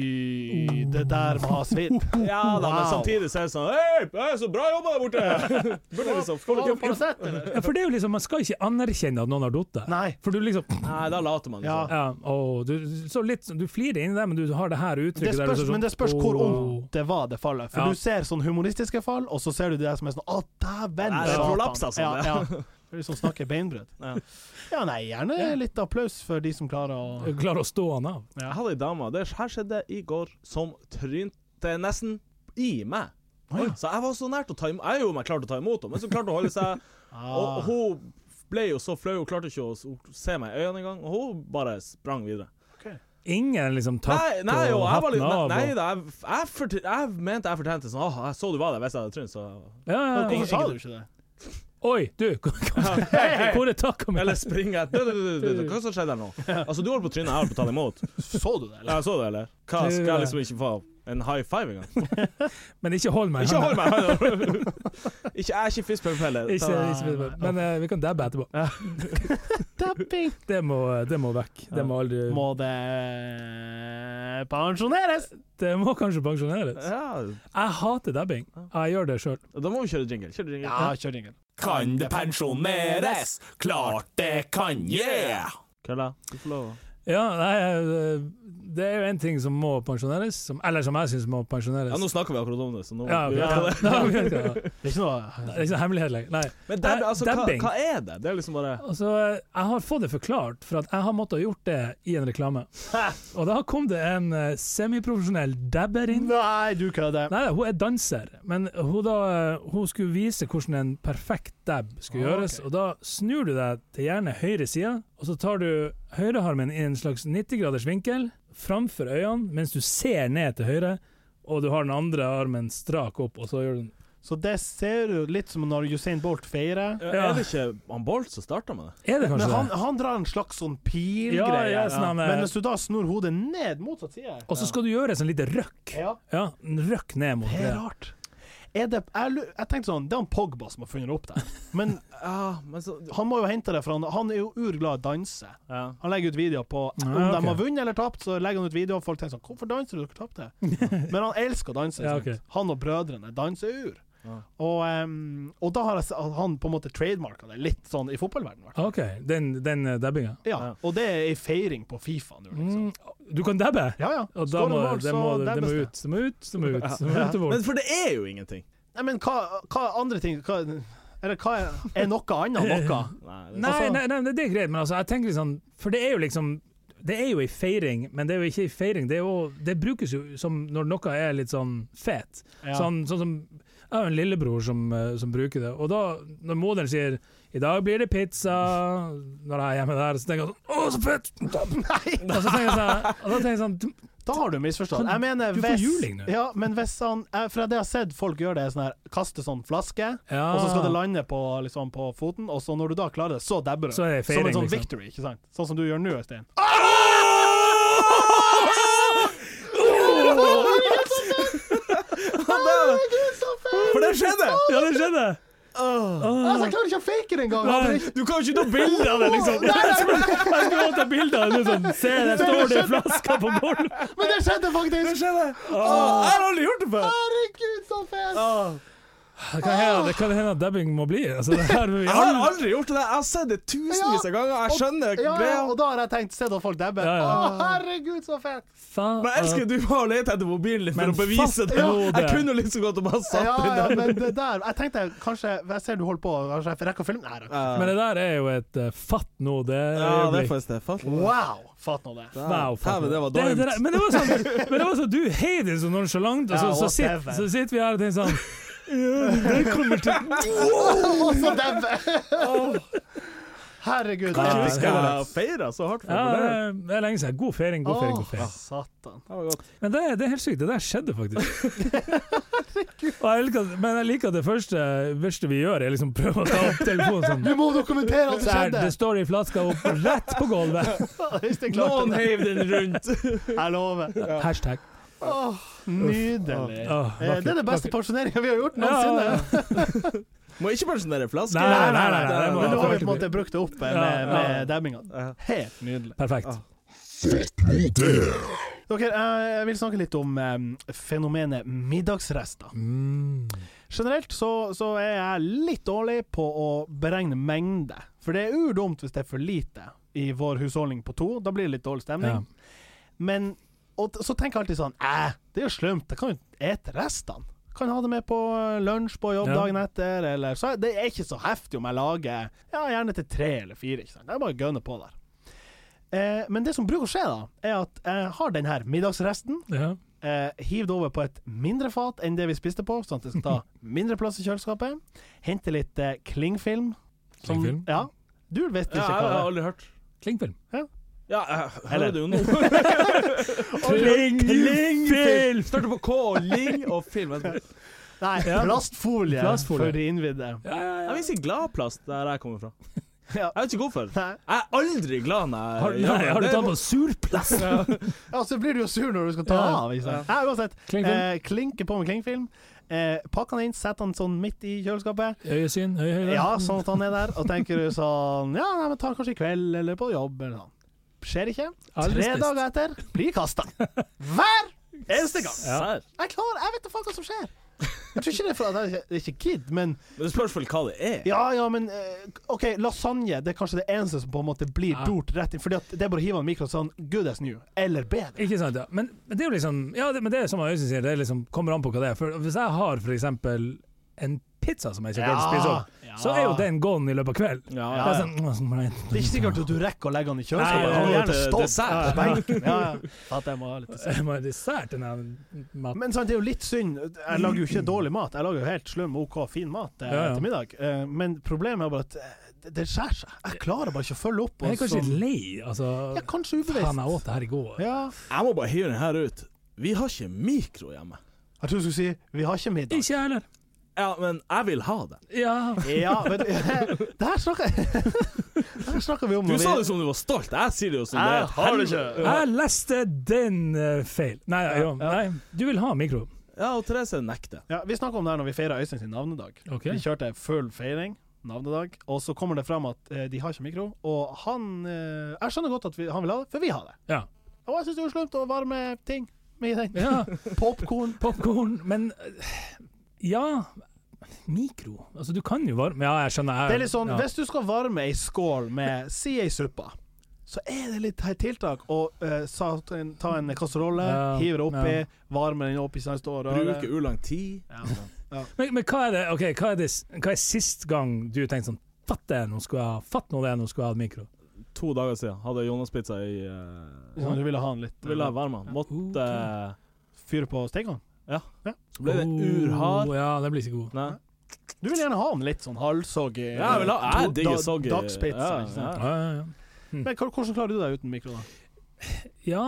[SPEAKER 1] Oi, det der var svidd.
[SPEAKER 3] Ja da, men
[SPEAKER 1] Wow.
[SPEAKER 3] samtidig så er det sånn Hei, hei, så bra jobba der borte! Burde liksom folk
[SPEAKER 2] ja, for det er jo liksom Man skal ikke anerkjenne at noen har datt.
[SPEAKER 1] Nei.
[SPEAKER 2] For du liksom
[SPEAKER 3] Nei, da later man.
[SPEAKER 1] Ja.
[SPEAKER 3] Liksom.
[SPEAKER 2] ja, å, du, så litt, sånn- du flirer inni deg, men du har det her
[SPEAKER 1] Det
[SPEAKER 2] uttrykket
[SPEAKER 1] spørs,
[SPEAKER 2] der. du
[SPEAKER 1] men det spørs hvor
[SPEAKER 2] «Åh».
[SPEAKER 1] ondt det var, det fallet. For
[SPEAKER 2] Ja.
[SPEAKER 1] du ser sånn humoristiske fall, og så ser du det der som er sånn Å, dæven!
[SPEAKER 3] Nei, det er
[SPEAKER 1] satan».
[SPEAKER 3] prolaps, altså.
[SPEAKER 1] Ja, ja. Det er de som snakker beinbrudd.
[SPEAKER 3] Ja.
[SPEAKER 1] Ja, nei, gjerne litt applaus for de som klarer å
[SPEAKER 2] Du Klarer å stå han av.
[SPEAKER 3] Jeg hadde ei dame det her skjedde i går som trynte nesten i meg.
[SPEAKER 1] Oi.
[SPEAKER 3] Så jeg var så nært å ta imot. Jeg gjorde meg klar til å ta imot henne, men så klarte hun å holde seg. Og
[SPEAKER 1] ah,
[SPEAKER 3] hun ble jo så flau, hun klarte ikke å s- se meg i øynene engang. Og hun bare sprang videre.
[SPEAKER 1] ok.
[SPEAKER 2] Ingen liksom
[SPEAKER 3] Nei,
[SPEAKER 2] takk
[SPEAKER 3] nei, og
[SPEAKER 2] og
[SPEAKER 3] jeg var litt
[SPEAKER 2] hatten
[SPEAKER 3] Nei,
[SPEAKER 2] av.
[SPEAKER 3] nei
[SPEAKER 2] og,
[SPEAKER 3] da, jeg, jeg, forte- jeg mente jeg fortjente sånn Åh, jeg så du var der hvis jeg hadde trynt, så
[SPEAKER 2] ja, ja, ja.
[SPEAKER 1] Hvorfor sa du ikke det?
[SPEAKER 2] Oi, du! Hvor hvor er takka mi?
[SPEAKER 3] Eller springer jeg du, du, du, du, Hva som skjedde her nå? Altså, du holdt på trynet, jeg holdt på å ta det imot.
[SPEAKER 1] Så du det, eller?
[SPEAKER 3] Jeg så det, eller? Hva skal jeg liksom ikke få En high five engang.
[SPEAKER 2] Men ikke hold meg. i
[SPEAKER 3] Ikke
[SPEAKER 2] hånda.
[SPEAKER 3] hold meg! ikke, jeg er ikke fiskpølsepeller.
[SPEAKER 2] Ikke, ikke, men eh, vi kan dabbe etterpå.
[SPEAKER 1] Dapping!
[SPEAKER 2] Det må, det må vekk. Det må aldri
[SPEAKER 1] Må det pensjoneres?
[SPEAKER 2] Det må kanskje pensjoneres.
[SPEAKER 3] Ja,
[SPEAKER 2] Jeg hater dabbing. Jeg gjør det sjøl.
[SPEAKER 3] da må vi kjøre jingle. Kjør jingle.
[SPEAKER 1] Ja, kjør jingle.
[SPEAKER 4] Kan det pensjoneres? Klart det kan, yeah!
[SPEAKER 3] Kølla, du får lov. å-
[SPEAKER 2] Ja, nei, eh, det er jo én ting som må pensjoneres, som, eller som jeg syns må pensjoneres.
[SPEAKER 3] Ja, nå snakker vi akkurat om det, så nå
[SPEAKER 2] Ja, ok.
[SPEAKER 3] vi vet hva det er.
[SPEAKER 2] Ja, vi vet hva det er.
[SPEAKER 1] Det er ikke noe
[SPEAKER 2] Det er ikke noe hemmelighet lenger. Nei.
[SPEAKER 3] Men dab, altså, hva,
[SPEAKER 2] Dabbing.
[SPEAKER 3] hva er det? Det er liksom bare
[SPEAKER 2] Altså, jeg har fått det forklart, for at jeg har måttet gjort det i en reklame. Og da kom det en eh, semiprofesjonell dabber inn.
[SPEAKER 1] Nei, du kødder.
[SPEAKER 2] Nei, hun er danser, men hun, da, hun skulle vise hvordan en perfekt dab skulle
[SPEAKER 1] Ah,
[SPEAKER 2] gjøres.
[SPEAKER 1] ok.
[SPEAKER 2] Og da snur du deg til gjerne høyre side, og så tar du høyrearmen i en slags 90-graders vinkel framfor øynene mens du ser ned til høyre, og du har den andre armen strak opp, og så gjør du den
[SPEAKER 1] Så det ser jo litt som når Usain Bolt feirer.
[SPEAKER 3] Er det ikke han Bolt som starta med det?
[SPEAKER 2] Er det
[SPEAKER 1] Men
[SPEAKER 2] kanskje
[SPEAKER 1] han,
[SPEAKER 2] det?
[SPEAKER 1] han drar en slags sånn pilgreie.
[SPEAKER 2] Ja, ja, sånn han, eh,
[SPEAKER 1] Men hvis du da snur hodet ned motsatt side
[SPEAKER 2] Og så skal du gjøre et sånt lite røkk.
[SPEAKER 1] Ja,
[SPEAKER 2] Ja, en røkk ned mot
[SPEAKER 1] det er
[SPEAKER 2] det.
[SPEAKER 1] rart. Er det, jeg, lu- jeg tenkte sånn, det er han Pogba som har funnet opp det. Men
[SPEAKER 3] Ja, men så
[SPEAKER 1] han må jo hente det, for han, han er jo urglad i å danse.
[SPEAKER 3] ja.
[SPEAKER 1] Han legger ut videoer på om
[SPEAKER 2] Ja, ok.
[SPEAKER 1] de har vunnet eller tapt, så legger han ut videoer, og folk tenker sånn Hvorfor danser du? Dere tapte. Men han elsker å danse.
[SPEAKER 2] Ja,
[SPEAKER 1] sant?
[SPEAKER 2] ok.
[SPEAKER 1] Han og brødrene danser ur.
[SPEAKER 3] Ja.
[SPEAKER 1] Og, em, og da har jeg, s- han på en måte trademarka det litt sånn i fotballverdenen. i hvert fall.
[SPEAKER 2] OK, den, den eh, dabbinga.
[SPEAKER 1] Ja,
[SPEAKER 3] Ja.
[SPEAKER 1] og det er ei feiring på Fifa nå, liksom.
[SPEAKER 2] Mm, du kan dabbe!
[SPEAKER 1] Ja ja.
[SPEAKER 2] Og da
[SPEAKER 1] Skårer
[SPEAKER 2] må,
[SPEAKER 1] mål,
[SPEAKER 2] det,
[SPEAKER 1] så
[SPEAKER 2] må, det
[SPEAKER 1] dabbes
[SPEAKER 2] må
[SPEAKER 1] det.
[SPEAKER 2] ut, det må ut, det må ut. Det må
[SPEAKER 1] Ja.
[SPEAKER 2] ut og bort.
[SPEAKER 3] Men for det er jo ingenting.
[SPEAKER 1] Nei, men hva, hva andre ting hva, Eller hva er, er noe annet enn noe?
[SPEAKER 3] Nei, det-
[SPEAKER 2] Nei,
[SPEAKER 1] Altså-
[SPEAKER 2] nei, nei, det er greit, men altså, jeg tenker litt sånn For det er jo liksom Det er jo ei feiring, men det er jo ikke ei feiring. Det, er jo, det brukes jo som når noe er litt sånn fet.
[SPEAKER 1] Ja.
[SPEAKER 2] Sånn, sånn som Jeg har jo en lillebror som, eh, som bruker det, og da, når moderen sier 'I dag blir det pizza', når jeg er hjemme der, så tenker jeg sånn 'Å, så fett!'
[SPEAKER 1] Nei!
[SPEAKER 2] Og så tenker jeg sånn, og da tenker jeg sånn «Du-
[SPEAKER 1] Da har du misforstått.
[SPEAKER 2] Sånn,
[SPEAKER 1] Jeg mener
[SPEAKER 2] du får
[SPEAKER 1] hvis
[SPEAKER 2] juling nå.
[SPEAKER 1] Ja, men hvis han eh, For det jeg har sett folk gjøre, det er sånn her Kaste sånn flaske,
[SPEAKER 2] ja.
[SPEAKER 1] og så skal det lande på, liksom, på foten, og så når du da klarer det, så dabber du.
[SPEAKER 2] Så er det
[SPEAKER 1] som
[SPEAKER 2] feiring,
[SPEAKER 1] en sånn
[SPEAKER 2] liksom.
[SPEAKER 1] victory, ikke sant? Sånn som du gjør nå, Øystein.
[SPEAKER 3] For det skjedde!
[SPEAKER 2] Ja, det skjedde!
[SPEAKER 1] Altså, jeg klarer ikke å fake det engang!
[SPEAKER 2] Nei.
[SPEAKER 3] Du kan jo ikke ta bilde av det, liksom!
[SPEAKER 2] Jeg skulle jeg skulle ta bilde av det sånn Se, der står det flasker på gulvet!
[SPEAKER 1] Men det skjedde faktisk!
[SPEAKER 3] skjedde? Åh, jeg har aldri gjort det før!
[SPEAKER 1] Herregud, så fett!
[SPEAKER 3] Åh.
[SPEAKER 2] Det kan hende- det kan hende at dabbing må bli. Altså, det her vil vi
[SPEAKER 3] Jeg har
[SPEAKER 2] aldri-
[SPEAKER 3] aldri gjort det! Jeg har sett det tusenvis av ganger, jeg skjønner
[SPEAKER 1] Ja, ja,
[SPEAKER 3] greia.
[SPEAKER 1] og da har jeg tenkt Sett at folk dabber.
[SPEAKER 2] Ja, ja.
[SPEAKER 1] Å, herregud, så fett!
[SPEAKER 2] Faen.
[SPEAKER 3] Men jeg elsker du har lett etter mobilen din for
[SPEAKER 2] Men
[SPEAKER 3] å bevise
[SPEAKER 2] fatt
[SPEAKER 3] det.
[SPEAKER 2] nå det.
[SPEAKER 3] Jeg kunne jo liksom gått og bare
[SPEAKER 1] Ja,
[SPEAKER 3] satt den
[SPEAKER 1] ja,
[SPEAKER 3] der.
[SPEAKER 1] men det der Jeg tenkte kanskje Jeg ser du holder på, kanskje jeg rekker å filme? Nei, jeg rekker.
[SPEAKER 2] Men det der er jo et eh, fatt nå, det
[SPEAKER 3] Ja, det er
[SPEAKER 2] øyeblikk.
[SPEAKER 3] faktisk det. Fatt nå det.
[SPEAKER 1] Wow! Fatt nå det.
[SPEAKER 2] Wow, fatt
[SPEAKER 3] Dæven,
[SPEAKER 2] nå.
[SPEAKER 3] det var
[SPEAKER 2] Det- det
[SPEAKER 3] dårlig.
[SPEAKER 2] der- Men det var sånn Men det var sånn, du heier det så nonsjalant, og
[SPEAKER 1] Ja,
[SPEAKER 2] så, så,
[SPEAKER 1] og
[SPEAKER 2] sitter,
[SPEAKER 1] dæven.
[SPEAKER 2] så sitter vi her og tenker sånn ja, det kommer til
[SPEAKER 1] Og så dabber! Herregud.
[SPEAKER 2] Kanskje vi
[SPEAKER 1] episk.
[SPEAKER 2] skal-
[SPEAKER 3] feire så hardt
[SPEAKER 2] ja, det er- det er lenge siden. God feiring, god feiring. god
[SPEAKER 1] Åh,
[SPEAKER 2] feiring
[SPEAKER 1] satan.
[SPEAKER 3] Det var godt.
[SPEAKER 2] Men det, er- det er helt sykt. Det der skjedde faktisk. Og jeg liker, at- men jeg liker at det første, første vi gjør, er liksom prøve å ta opp telefonen sånn.
[SPEAKER 1] Du må dokumentere at det
[SPEAKER 2] Der,
[SPEAKER 1] skjedde!
[SPEAKER 2] det står i flaska opp rett på gulvet.
[SPEAKER 1] Hvis det klarte
[SPEAKER 3] Noen
[SPEAKER 1] det.
[SPEAKER 3] heiv den rundt.
[SPEAKER 1] Jeg lover.
[SPEAKER 2] Hashtag.
[SPEAKER 1] Åh, nydelig.
[SPEAKER 2] Åh, åh,
[SPEAKER 1] Eh, Det er den beste pensjoneringa vi har gjort noensinne.
[SPEAKER 3] Må ikke pensjonere flasker.
[SPEAKER 2] Nei, nei, nei, nei, det må-
[SPEAKER 1] Men nå har vi på en
[SPEAKER 2] det
[SPEAKER 1] måte brukt det opp eh,
[SPEAKER 2] Ja,
[SPEAKER 1] med,
[SPEAKER 2] ja.
[SPEAKER 1] med dabbinga.
[SPEAKER 3] Ja.
[SPEAKER 1] Helt nydelig.
[SPEAKER 2] Perfekt.
[SPEAKER 3] Ah.
[SPEAKER 1] Dere, eh, jeg vil snakke litt om eh, fenomenet middagsrester.
[SPEAKER 2] Mm.
[SPEAKER 1] Generelt så, så er jeg litt dårlig på å beregne mengde. For det er urdumt hvis det er for lite i vår husholdning på to. Da blir det litt dårlig stemning.
[SPEAKER 2] Ja.
[SPEAKER 1] Men og t- så tenker jeg alltid sånn Æ, det er jo slumt. Jeg kan jo ete restene. Kan ha det med på eh, lunsj på jobb
[SPEAKER 2] Ja.
[SPEAKER 1] dagen etter, eller så Det er ikke så heftig om jeg lager ja, gjerne til tre eller fire. ikke sant? Jeg bare gønner på der. Eh, men det som bruker å skje, da, er at jeg har den her middagsresten.
[SPEAKER 2] Ja.
[SPEAKER 1] Eh, hiv det over på et mindre fat enn det vi spiste på, sånn at det skal ta mindre plass i kjøleskapet. Hente litt eh, klingfilm. Som-
[SPEAKER 2] Klingfilm?
[SPEAKER 1] Ja. Du vet ikke
[SPEAKER 3] Ja, jeg
[SPEAKER 1] hva
[SPEAKER 3] har
[SPEAKER 1] det
[SPEAKER 3] aldri hørt.
[SPEAKER 2] Klingfilm.
[SPEAKER 3] Ja, jeg hører
[SPEAKER 1] Eller-
[SPEAKER 3] det jo nå.
[SPEAKER 2] Kling,
[SPEAKER 3] Klingfilm! Starter på K og ling og film. Jeg
[SPEAKER 1] er. Nei,
[SPEAKER 2] Ja.
[SPEAKER 1] plastfolie,
[SPEAKER 2] Plastfolie.
[SPEAKER 1] for de innvidde.
[SPEAKER 2] Ja, ja, ja.
[SPEAKER 3] vil si gladplast der jeg kommer fra.
[SPEAKER 1] Ja.
[SPEAKER 3] Jeg vet ikke hvorfor.
[SPEAKER 1] Nei.
[SPEAKER 3] Jeg er aldri glad når jeg
[SPEAKER 2] Har,
[SPEAKER 3] gjør
[SPEAKER 2] nei,
[SPEAKER 3] det.
[SPEAKER 2] har du
[SPEAKER 3] Det er
[SPEAKER 2] tatt på surplass?
[SPEAKER 1] Ja, så blir du jo sur når du skal ta
[SPEAKER 2] Ja.
[SPEAKER 1] av. Ikke sant? Ja. uansett.
[SPEAKER 2] Klingfilm.
[SPEAKER 1] Eh, klinke på med klingfilm. Eh, Pakk han inn, sett han sånn midt i kjøleskapet.
[SPEAKER 2] Øyesyn? Øyehøyde?
[SPEAKER 1] Ja, sånn at han er der. Og tenker du sånn Ja, nei, men ta kanskje i kveld, eller på jobb, eller sånn. Skjer ikke.
[SPEAKER 2] Aldri
[SPEAKER 1] Tre
[SPEAKER 2] spist.
[SPEAKER 1] dager etter blir kasta. Hver eneste gang.
[SPEAKER 2] Ja.
[SPEAKER 1] Jeg er klar, jeg vet da faen hva som skjer. Jeg tror ikke det er for at jeg jeg er ikke gidd, men
[SPEAKER 3] Men det spørs vel hva det er.
[SPEAKER 1] Ja, ja, men eh, OK, lasagne det er kanskje det eneste som på en måte blir
[SPEAKER 2] Ja.
[SPEAKER 1] dort rett inn. Fordi at det er bare å hive den i mikroen sånn good as new, eller bedre.
[SPEAKER 2] Ikke sant, ja. Men, men det er jo liksom Ja, det, men det er som Øystein sier, det er liksom, kommer an på hva det er. For Hvis jeg har for eksempel en pizza som jeg ikke vil spise opp, så er jo den gone i løpet av kvelden.
[SPEAKER 3] Ja,
[SPEAKER 2] Det er sånn, mm, sånn, nei.
[SPEAKER 1] Det er ikke sikkert at du rekker å legge den i
[SPEAKER 2] Nei,
[SPEAKER 1] kjøleskapet. Han har
[SPEAKER 3] ja,
[SPEAKER 1] gjerne
[SPEAKER 3] til
[SPEAKER 1] stått
[SPEAKER 3] dessert.
[SPEAKER 1] på benken. Ja, ja. At jeg må ha litt
[SPEAKER 2] Jeg må ha dessert til den maten.
[SPEAKER 1] Men sant, det er jo litt synd. Jeg lager jo ikke dårlig mat. Jeg lager jo helt slum, OK, fin mat eh,
[SPEAKER 2] Ja, ja.
[SPEAKER 1] til middag. Eh, Men problemet er bare at eh, det- det skjærer seg. Jeg klarer bare ikke å følge opp.
[SPEAKER 2] Jeg er
[SPEAKER 1] og
[SPEAKER 2] kanskje
[SPEAKER 1] sånn-
[SPEAKER 2] litt lei, altså.
[SPEAKER 1] ja, kanskje
[SPEAKER 2] Faen, jeg
[SPEAKER 1] ubevisst.
[SPEAKER 2] åt det her i går.
[SPEAKER 1] Ja.
[SPEAKER 3] Jeg må bare hive den her ut. Vi har ikke mikro hjemme.
[SPEAKER 1] Jeg tror du skulle si 'vi har ikke middag'.
[SPEAKER 2] Ikke jeg heller.
[SPEAKER 3] Ja, men jeg vil ha det.
[SPEAKER 2] Ja.
[SPEAKER 1] Ja, vet du Det her snakker Det her snakker vi om
[SPEAKER 3] Du
[SPEAKER 1] når vi-
[SPEAKER 3] sa det som du var stolt. Jeg sier det jo som det
[SPEAKER 1] Jeg
[SPEAKER 3] er.
[SPEAKER 1] har det ikke.
[SPEAKER 2] Jeg leste den eh, feil. Nei, jo, nei, du vil ha mikro.
[SPEAKER 3] Ja, og Therese nekter.
[SPEAKER 1] Ja, vi snakka om det her når vi feira Øystein sin navnedag.
[SPEAKER 2] Ok.
[SPEAKER 1] Vi kjørte full feiring, navnedag, og så kommer det fram at eh, de har ikke mikro. Og han eh, Jeg skjønner godt at vi, han vil ha det, for vi har det.
[SPEAKER 2] Ja.
[SPEAKER 1] Og jeg syns det er slemt å varme ting med i den.
[SPEAKER 2] ja.
[SPEAKER 1] Popkorn.
[SPEAKER 2] Popkorn, men eh, Ja, mikro Altså, du kan jo varme Ja, jeg skjønner. Jeg,
[SPEAKER 1] Det er litt sånn,
[SPEAKER 2] ja.
[SPEAKER 1] Hvis du skal varme ei skål med si ei suppe, så er det litt her tiltak å eh, sa- ta en- ta en kasserolle,
[SPEAKER 2] Ja,
[SPEAKER 1] hive det oppi,
[SPEAKER 2] ja.
[SPEAKER 1] varme den opp i sånn stå og røre.
[SPEAKER 3] Bruker ulang tid.
[SPEAKER 1] Ja. sånn.
[SPEAKER 2] men, men hva er det Ok, hva er, det, s- hva er sist gang du tenkte sånn Fatt det, nå skulle jeg ha Fatt nå det, nå skulle jeg ha et mikro.
[SPEAKER 3] To dager siden hadde Jonas-pizza i eh,
[SPEAKER 1] Sånn, du ville ha den litt
[SPEAKER 3] Ville ha varma. Måtte eh,
[SPEAKER 1] Fyre på stekeovnen?
[SPEAKER 3] Så ble den
[SPEAKER 2] Oh,
[SPEAKER 3] urhard.
[SPEAKER 2] Ja, den blir ikke god.
[SPEAKER 3] Nei.
[SPEAKER 1] Du vil gjerne ha den litt sånn halvsoggy.
[SPEAKER 3] Ja, jeg vil ha
[SPEAKER 1] to-
[SPEAKER 3] Jeg digger
[SPEAKER 1] da-
[SPEAKER 3] soggy.
[SPEAKER 1] Dagspizza.
[SPEAKER 3] Ja,
[SPEAKER 1] ikke sant?
[SPEAKER 3] ja.
[SPEAKER 2] Ja, ja, ja.
[SPEAKER 1] Men hva- hvordan klarer du deg uten mikro, da?
[SPEAKER 2] ja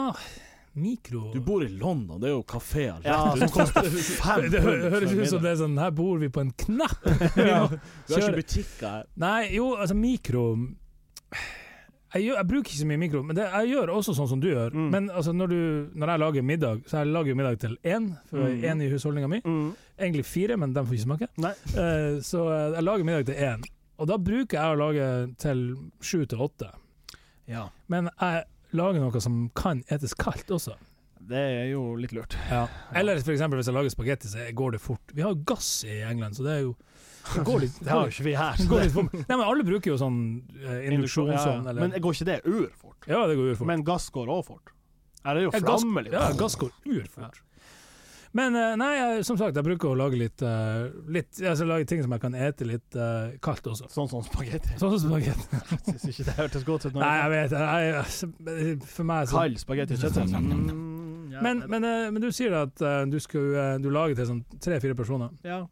[SPEAKER 2] mikro
[SPEAKER 3] Du bor i London, det er jo altså. kafeer.
[SPEAKER 1] Ja, som koster fem
[SPEAKER 2] Det hø
[SPEAKER 1] for en
[SPEAKER 2] høres ut som
[SPEAKER 1] middag.
[SPEAKER 2] det er sånn Her bor vi på en knapp!
[SPEAKER 3] Vi
[SPEAKER 2] Vi
[SPEAKER 3] har
[SPEAKER 2] har ikke
[SPEAKER 3] ikke butikker her.
[SPEAKER 2] Nei, jo, altså mikro jeg, gjør, jeg bruker ikke så mye mikro, men det, jeg gjør også sånn som du gjør.
[SPEAKER 1] Mm.
[SPEAKER 2] Men altså, når, du, når jeg lager middag, så jeg lager middag til én, for
[SPEAKER 1] Mm.
[SPEAKER 2] én i husholdninga mi.
[SPEAKER 1] Mm.
[SPEAKER 2] Egentlig fire, men dem får ikke smake.
[SPEAKER 1] Nei.
[SPEAKER 2] Eh, så eh, jeg lager middag til én. Og da bruker jeg å lage til sju til åtte.
[SPEAKER 1] Ja.
[SPEAKER 2] Men jeg lager noe som kan etes kaldt også.
[SPEAKER 1] Det er jo litt lurt.
[SPEAKER 2] Eller for eksempel hvis jeg lager spagetti, så går det fort. Vi har jo gass i England, så det er jo det går litt,
[SPEAKER 1] Det har jo ikke vi her.
[SPEAKER 2] går litt fort. Nei, men alle bruker jo sånn eh, induksjonsovn.
[SPEAKER 1] Ja, ja.
[SPEAKER 2] eller-
[SPEAKER 1] Men går ikke det urfort?
[SPEAKER 2] Ja, det går urfort.
[SPEAKER 1] Men gass går òg fort. Ja, det er jo
[SPEAKER 2] Ja, gass-
[SPEAKER 1] framme litt.
[SPEAKER 2] Ja, gass går urfort. Men eh, nei, jeg, som sagt, jeg bruker å lage litt, eh, litt altså, lage ting som jeg kan ete litt eh, kaldt også.
[SPEAKER 1] Sånn som spagetti.
[SPEAKER 2] Sånn som spagetti.
[SPEAKER 1] Syns ikke det hørtes godt ut. når-
[SPEAKER 2] Nei, jeg vet jeg, jeg, For meg så
[SPEAKER 1] Kald spagetti og kjøttsaus. Mm, ja,
[SPEAKER 2] men,
[SPEAKER 1] det-
[SPEAKER 2] men, eh, men du sier at eh, du, skal, eh, du lager til sånn tre-fire personer.
[SPEAKER 1] ja.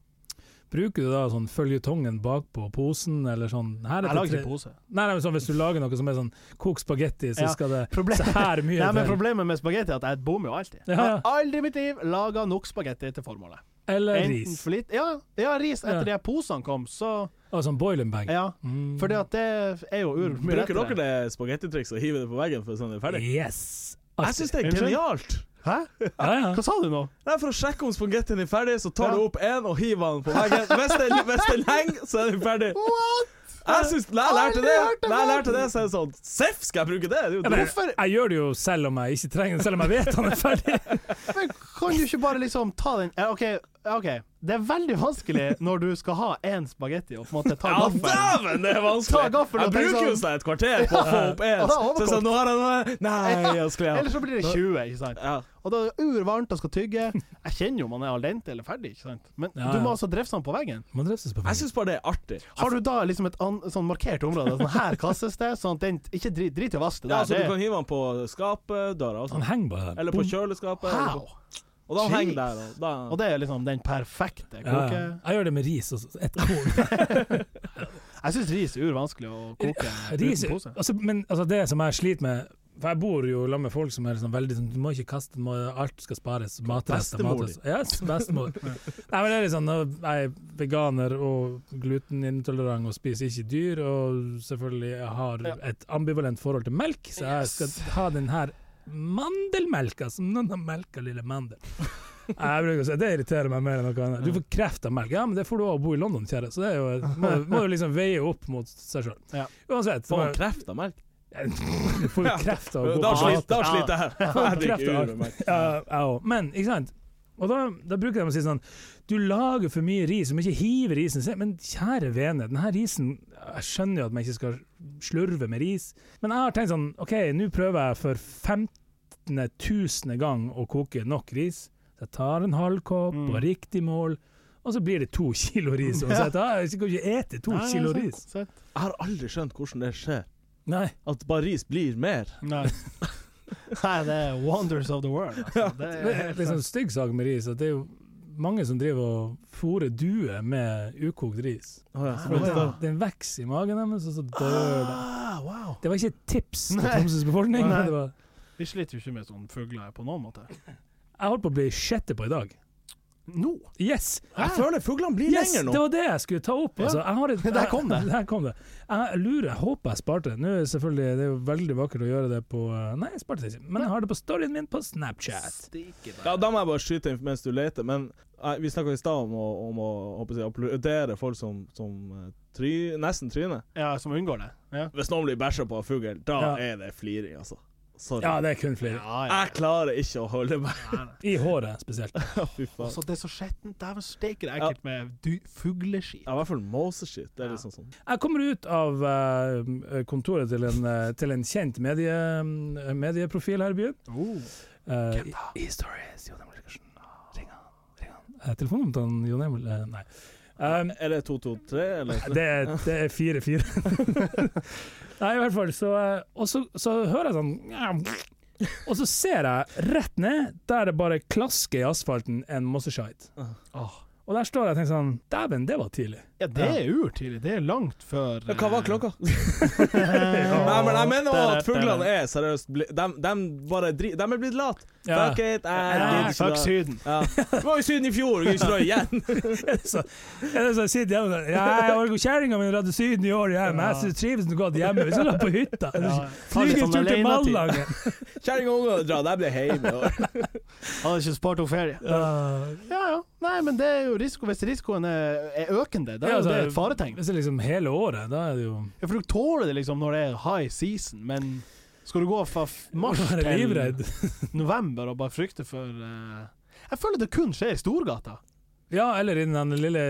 [SPEAKER 2] Bruker du da sånn føljetongen bakpå posen, eller sånn her
[SPEAKER 1] Jeg
[SPEAKER 2] er det
[SPEAKER 1] lager
[SPEAKER 2] tre-
[SPEAKER 1] ikke pose.
[SPEAKER 2] Nei, nei, men sånn, Hvis du lager noe som er sånn kok spagetti, så
[SPEAKER 1] Ja,
[SPEAKER 2] skal det
[SPEAKER 1] Problem.
[SPEAKER 2] så her mye
[SPEAKER 1] Nei, men
[SPEAKER 2] til.
[SPEAKER 1] Problemet med spagetti er at jeg bommer jo alltid.
[SPEAKER 2] Ja.
[SPEAKER 1] Jeg har aldri i mitt liv laga nok spagetti til formålet.
[SPEAKER 2] Eller
[SPEAKER 1] Enten
[SPEAKER 2] ris.
[SPEAKER 1] for lite- Ja, ja, ris. Etter
[SPEAKER 2] Ja.
[SPEAKER 1] de her posene kom, så
[SPEAKER 2] Og sånn boiling bag.
[SPEAKER 1] Ja.
[SPEAKER 2] Mm.
[SPEAKER 1] Fordi at det er jo ur mye
[SPEAKER 3] Bruker dere
[SPEAKER 1] lettere.
[SPEAKER 3] det spagettitrikset å hive det på veggen for sånn det er ferdig?
[SPEAKER 2] Yes!
[SPEAKER 3] Jeg syns det er
[SPEAKER 1] Unnskyld?
[SPEAKER 3] genialt!
[SPEAKER 1] Hæ?
[SPEAKER 2] ja, ja.
[SPEAKER 1] Hva sa du nå?
[SPEAKER 3] Nei, For å sjekke om spagettien er ferdig, så tar
[SPEAKER 1] Ja.
[SPEAKER 3] du opp én og hiver den på veggen. Hvis den, hvis den henger, så er den ferdig.
[SPEAKER 1] What?
[SPEAKER 3] Jeg synes, når jeg lærte det,
[SPEAKER 1] Aldri hørt det
[SPEAKER 3] når jeg
[SPEAKER 1] før.
[SPEAKER 3] lærte det, så er det sånn Seff, skal jeg bruke det? Det er jo
[SPEAKER 2] Ja,
[SPEAKER 3] dumt.
[SPEAKER 2] men
[SPEAKER 1] Hvorfor-
[SPEAKER 2] jeg gjør det jo selv om jeg ikke trenger det, selv om jeg vet han er ferdig.
[SPEAKER 1] Men kan du ikke bare liksom ta den Ja, OK. ja, ok. Det er veldig vanskelig når du skal ha én spagetti og på en måte ta
[SPEAKER 3] Ja,
[SPEAKER 1] gaffelen.
[SPEAKER 3] dæven, det er
[SPEAKER 1] Ta
[SPEAKER 3] vanskelig!
[SPEAKER 1] gaffelen
[SPEAKER 3] Jeg
[SPEAKER 1] og tenk
[SPEAKER 3] bruker jo
[SPEAKER 1] sånn-
[SPEAKER 3] sånn et kvarter på å få opp én.
[SPEAKER 1] Ja, da overkomt.
[SPEAKER 3] Så sånn, nå har jeg noe Nei, jeg skulle
[SPEAKER 1] Eller
[SPEAKER 3] ha
[SPEAKER 1] så blir det 20, ikke sant.
[SPEAKER 3] ja.
[SPEAKER 1] Og da er det urvarmt og skal tygge. Jeg kjenner jo om man er al dente eller ferdig, ikke sant. Men
[SPEAKER 2] Ja,
[SPEAKER 1] du
[SPEAKER 2] ja.
[SPEAKER 1] må altså drefse den på veggen.
[SPEAKER 2] Man drepes på
[SPEAKER 3] Jeg syns bare det er artig.
[SPEAKER 1] Har du da liksom et an, sånn markert område? Sånn her kastes det, sånn at den ikke drit, drit i å vaske det
[SPEAKER 3] Ja,
[SPEAKER 1] der.
[SPEAKER 3] altså, du
[SPEAKER 1] det,
[SPEAKER 3] kan hive den på skapdøra og sånn.
[SPEAKER 2] Han henger bare der.
[SPEAKER 3] Eller på kjøleskapet. eller
[SPEAKER 1] How?
[SPEAKER 3] på- Og da
[SPEAKER 1] Jeez.
[SPEAKER 3] henger der. Og da,
[SPEAKER 1] Og det er liksom den perfekte
[SPEAKER 2] Ja,
[SPEAKER 1] koke...
[SPEAKER 2] ja. jeg gjør det med ris og et korn.
[SPEAKER 1] Jeg syns ris er urvanskelig å koke uten
[SPEAKER 2] Ris,
[SPEAKER 1] pose.
[SPEAKER 2] altså, men altså, det som jeg sliter med For jeg bor jo sammen med folk som er sånn veldig sånn Du må ikke kaste, du må, alt skal spares. Matrester.
[SPEAKER 3] Bestemor
[SPEAKER 2] matrester. Yes, bestemor. Nei, men det er litt sånn, nå- jeg er veganer og glutenintolerant og spiser ikke dyr, og selvfølgelig jeg har et ambivalent forhold til melk, så jeg skal ha den her mandelmelka som noen har melka lille mandel. Jeg bruker å si, Det irriterer meg mer enn noe annet. Du får kreft av melk. Ja, men det får du av å bo i London, kjære. Så det er jo, må, må jo liksom veie opp mot seg sjøl.
[SPEAKER 1] Ja.
[SPEAKER 2] Uansett.
[SPEAKER 3] Får
[SPEAKER 2] så-
[SPEAKER 3] man kreft av melk?
[SPEAKER 2] du får jo kreft av å gå
[SPEAKER 3] Da
[SPEAKER 2] på
[SPEAKER 3] sliter da
[SPEAKER 2] gata.
[SPEAKER 3] sliter jeg. Jeg
[SPEAKER 2] kreft
[SPEAKER 3] drikker
[SPEAKER 2] av
[SPEAKER 3] ur med melk.
[SPEAKER 2] Ja, jeg òg. Men, ikke sant. Og da, da bruker de å si sånn Du lager for mye ris, du må ikke hive risen. Se, Men kjære vene, denne risen Jeg skjønner jo at man ikke skal slurve med ris, men jeg har tenkt sånn OK, nå prøver jeg for 15 000 gang å koke nok ris. Så jeg tar en halv kopp
[SPEAKER 1] Mm.
[SPEAKER 2] og riktig mål, og så blir det to kilo ris. Og så jeg tar, jeg skal jo ikke ete to
[SPEAKER 1] Nei, nei,
[SPEAKER 2] kilo
[SPEAKER 1] sant,
[SPEAKER 2] ris.
[SPEAKER 1] sant.
[SPEAKER 3] Jeg har aldri skjønt hvordan det skjer.
[SPEAKER 2] Nei.
[SPEAKER 3] At bare ris blir mer.
[SPEAKER 1] Nei. Nei, det er wonders of the world. Altså. Det
[SPEAKER 2] Det
[SPEAKER 1] er
[SPEAKER 2] er
[SPEAKER 1] helt
[SPEAKER 2] litt sånn stygg sak med ris. At det er jo mange som driver og fôrer duer med ukokt ris.
[SPEAKER 3] Å ja, så
[SPEAKER 2] For
[SPEAKER 3] blir det
[SPEAKER 2] den,
[SPEAKER 3] da-
[SPEAKER 2] den vokser i magen deres, og så dør den.
[SPEAKER 1] ah, wow.
[SPEAKER 2] Det var ikke et tips til
[SPEAKER 1] Nei.
[SPEAKER 2] Tromsøs befolkning.
[SPEAKER 1] Nei.
[SPEAKER 2] men Det var,
[SPEAKER 1] Vi sliter jo ikke med sånne fugler på noen måte.
[SPEAKER 2] jeg holdt på å bli sjette på i dag.
[SPEAKER 1] Nå?
[SPEAKER 2] Yes!
[SPEAKER 3] Jeg føler fuglene blir
[SPEAKER 2] Yes,
[SPEAKER 3] lenger
[SPEAKER 2] Det
[SPEAKER 3] nå.
[SPEAKER 2] var det jeg skulle ta opp.
[SPEAKER 1] Ja.
[SPEAKER 2] Altså, jeg har et,
[SPEAKER 1] Der kom det.
[SPEAKER 2] Der kom det. Jeg lurer, jeg håper jeg sparte det. Nå er det selvfølgelig, det er jo veldig vakkert å gjøre det på eh, Nei, jeg sparte det ikke, men jeg har det på storyen min på Snapchat.
[SPEAKER 3] Ja, da må jeg bare skyte inn mens du leter, men eh, vi snakka i stad om å, om å håper jeg, applaudere folk som, som eh, try, nesten tryner.
[SPEAKER 1] Ja, som unngår det. Ja.
[SPEAKER 3] Hvis noen blir bæsja på av fugl, da
[SPEAKER 2] Ja.
[SPEAKER 3] er det fliring, altså. Sorry.
[SPEAKER 2] Ja, det er kun flere.
[SPEAKER 1] Ja, ja.
[SPEAKER 3] Jeg klarer ikke å holde meg.
[SPEAKER 2] I håret spesielt.
[SPEAKER 3] Fy faen.
[SPEAKER 1] Altså, det er så skjettent. Dæven steike, det er ekkelt med du fugleskitt.
[SPEAKER 3] Ja, I hvert fall måseskit. Det er liksom sånn.
[SPEAKER 2] Jeg kommer ut av eh, kontoret til en, eh, til en kjent medie, eh, medieprofil her i byen.
[SPEAKER 1] Oh.
[SPEAKER 2] Eh, i- i stories, Jon Emil Rikardsen. Ring han, ring han. Eh, Telefonen til han, Jon Emil eh, Nei. Um,
[SPEAKER 3] Er det 223, eller?
[SPEAKER 2] det er- det er fire-fire. Nei, i hvert fall. Så, eh, og så, så hører jeg sånn «Njam». Og så ser jeg rett ned, der det bare klasker i asfalten en mossescheid.
[SPEAKER 1] Ah.
[SPEAKER 2] Og der står jeg og tenker sånn Dæven, det var tidlig.
[SPEAKER 1] Ja, det er urtidlig. Det er langt før eh,
[SPEAKER 3] Ja, Hva var klokka? Nei,
[SPEAKER 1] Nei,
[SPEAKER 3] men jeg mener også at fuglene er seriøst bli- De, de bare dri... De er blitt late.
[SPEAKER 2] Ja.
[SPEAKER 3] Fuck it, jeg
[SPEAKER 1] Ja,
[SPEAKER 3] gidder ikke
[SPEAKER 1] fuck
[SPEAKER 3] det.
[SPEAKER 1] Syden.
[SPEAKER 3] Ja. Du var i Syden i fjor, vi skal dra igjen.
[SPEAKER 2] så, er det så jeg sitter hjemme og sånn, «Ja, jeg orker kjerringa mi drar til Syden i år igjen, men jeg synes trives den godt hjemme. Vi skal dra på hytta.
[SPEAKER 1] Ja, tar litt
[SPEAKER 2] Flyger
[SPEAKER 1] sånn
[SPEAKER 2] tur til
[SPEAKER 1] alene-tid.
[SPEAKER 2] Malangen.
[SPEAKER 3] Kjerring og unger drar, de blir hjemme.
[SPEAKER 1] Hadde ikke spart opp ferie. Ja ja. Nei, men det er jo risiko hvis risikoen er, er økende. Da er
[SPEAKER 2] Ja,
[SPEAKER 1] jo
[SPEAKER 2] altså,
[SPEAKER 1] det et faretegn.
[SPEAKER 2] Hvis det er liksom hele året, da er det jo
[SPEAKER 1] Ja, for du tåler det liksom når det er high season, men skal du gå fra f- mars
[SPEAKER 2] Å være livredd.
[SPEAKER 1] til november og bare frykte for eh, Jeg føler det kun skjer i Storgata.
[SPEAKER 2] Ja, eller i den lille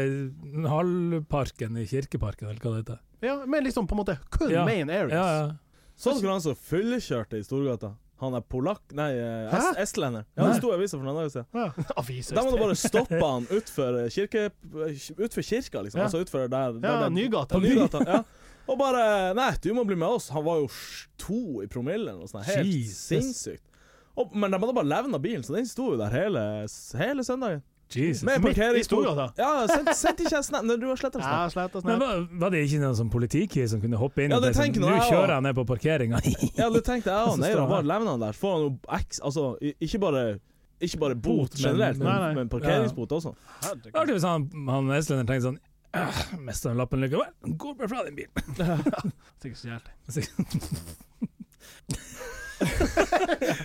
[SPEAKER 2] hallparken i Kirkeparken, eller hva det heter.
[SPEAKER 1] Ja, men liksom på en måte kun
[SPEAKER 2] Ja.
[SPEAKER 1] main areas.
[SPEAKER 2] Ja, ja.
[SPEAKER 3] Sånn skulle han så fyllekjørte i Storgata. Han er polakk Nei, eh, es
[SPEAKER 1] Hæ?
[SPEAKER 3] estlender. Ja, det
[SPEAKER 2] Nei.
[SPEAKER 3] sto i avisa for noen dager siden.
[SPEAKER 1] Ja. Aviser.
[SPEAKER 3] Da må du bare stoppe han utfor eh, kirke, utfor kirka, liksom.
[SPEAKER 1] Ja.
[SPEAKER 3] Altså utfor der, der,
[SPEAKER 1] Ja,
[SPEAKER 3] der
[SPEAKER 1] Nygata.
[SPEAKER 3] Nygata. Ja. Og bare Nei, du må bli med oss. Han var jo sj- to i promillen og sånn. Helt
[SPEAKER 2] Jesus.
[SPEAKER 3] sinnssykt. Og, men de hadde bare levna bilen, så den sto jo der hele, hele søndagen.
[SPEAKER 2] Jesus.
[SPEAKER 3] Med
[SPEAKER 1] Midt
[SPEAKER 3] parkering
[SPEAKER 1] i Storgata.
[SPEAKER 3] Ja, send, send ikke en snap. Nei, Du har sletta
[SPEAKER 1] Ja,
[SPEAKER 3] snap.
[SPEAKER 1] slett og
[SPEAKER 2] Men
[SPEAKER 1] snett.
[SPEAKER 2] var, var det ikke noen sånn politikir som kunne hoppe inn
[SPEAKER 3] Ja,
[SPEAKER 2] og
[SPEAKER 3] det
[SPEAKER 2] si sånn,
[SPEAKER 3] tenker nå
[SPEAKER 2] Nå
[SPEAKER 3] jeg også.
[SPEAKER 2] kjører jeg ned på parkeringa.
[SPEAKER 3] Ja, det tenkte jeg
[SPEAKER 2] Så
[SPEAKER 3] òg. Nei, da
[SPEAKER 2] står han
[SPEAKER 3] bare
[SPEAKER 2] her.
[SPEAKER 3] levner han der. Får han jo X Altså, i- ikke bare ikke bare bot
[SPEAKER 2] Bot, men-
[SPEAKER 3] generelt, men,
[SPEAKER 1] Nei, nei.
[SPEAKER 3] men, parkeringsbot også.
[SPEAKER 1] Herregud.
[SPEAKER 2] Artig hvis han, sånn han estlenderen tenkte sånn «Åh, Mest av lappen likevel. Går bare fra den bilen.
[SPEAKER 1] Sikkert så jævlig.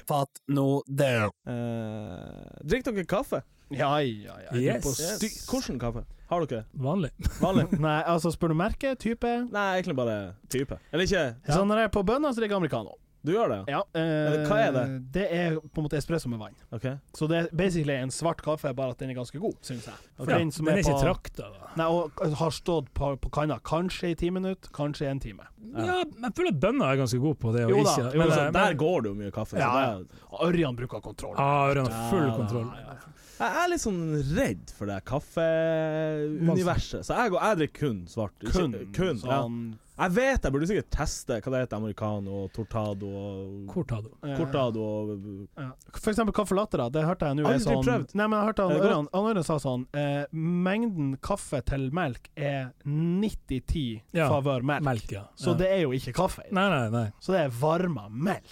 [SPEAKER 4] Fatt nå det.
[SPEAKER 3] Eh, drikk dere kaffe?
[SPEAKER 1] Ja, ja, ja. Jeg
[SPEAKER 2] Yes.
[SPEAKER 1] tror på-
[SPEAKER 3] Yes. Hvordan kaffe? Har dere?
[SPEAKER 2] Vanlig.
[SPEAKER 3] Vanlig?
[SPEAKER 1] Nei, altså, spør du merke, type
[SPEAKER 3] Nei, egentlig bare type. Eller ikke?
[SPEAKER 1] Så når jeg er på bønna, så drikker jeg americano.
[SPEAKER 3] Du gjør det, ja?
[SPEAKER 1] Ja, eh,
[SPEAKER 3] Hva er det?
[SPEAKER 1] Det er på en måte espresso med vann.
[SPEAKER 3] OK.
[SPEAKER 1] Så det er basically en svart kaffe, bare at den er ganske god, syns jeg. For
[SPEAKER 2] Ja,
[SPEAKER 1] den som
[SPEAKER 2] den
[SPEAKER 1] er
[SPEAKER 2] er ikke
[SPEAKER 1] på-
[SPEAKER 2] trakta, da.
[SPEAKER 1] Nei, og har stått på, på kanna kanskje i ti minutter, kanskje i en time.
[SPEAKER 2] Ja, men jeg føler at bønder er ganske gode på det. Og
[SPEAKER 1] Jo da,
[SPEAKER 2] ikke,
[SPEAKER 1] jo
[SPEAKER 2] men,
[SPEAKER 1] da,
[SPEAKER 3] Altså,
[SPEAKER 2] men,
[SPEAKER 3] der går det jo mye kaffe.
[SPEAKER 1] Ja,
[SPEAKER 3] Så det,
[SPEAKER 1] Og Ørjan bruker kontroll.
[SPEAKER 2] Ja, Ørjan har Ah, full
[SPEAKER 3] Ja,
[SPEAKER 2] kontroll.
[SPEAKER 3] jeg er litt sånn redd for det kaffeuniverset, så jeg, går, jeg drikker kun svart. Ikke-
[SPEAKER 1] Kun,
[SPEAKER 3] kun ja.
[SPEAKER 1] sånn
[SPEAKER 3] Jeg vet jeg burde sikkert teste hva det heter, americano og tortado og
[SPEAKER 2] Hvor tar du?
[SPEAKER 1] eh,
[SPEAKER 3] cortado og
[SPEAKER 1] ja. For eksempel kaffe latte, da. Det hørte jeg nå er
[SPEAKER 3] Aldri
[SPEAKER 1] sånn
[SPEAKER 3] prøvd.
[SPEAKER 1] Nei, men jeg hørte
[SPEAKER 3] Er
[SPEAKER 1] han
[SPEAKER 3] det
[SPEAKER 1] Ørjan, han Ørjan sa sånn eh, Mengden kaffe til melk er 90-10
[SPEAKER 2] Ja,
[SPEAKER 1] favør melk.
[SPEAKER 2] Melk, ja.
[SPEAKER 1] Så
[SPEAKER 2] ja.
[SPEAKER 1] det er jo ikke kaffe. i det.
[SPEAKER 2] Nei, nei, nei.
[SPEAKER 1] Så det er varma melk.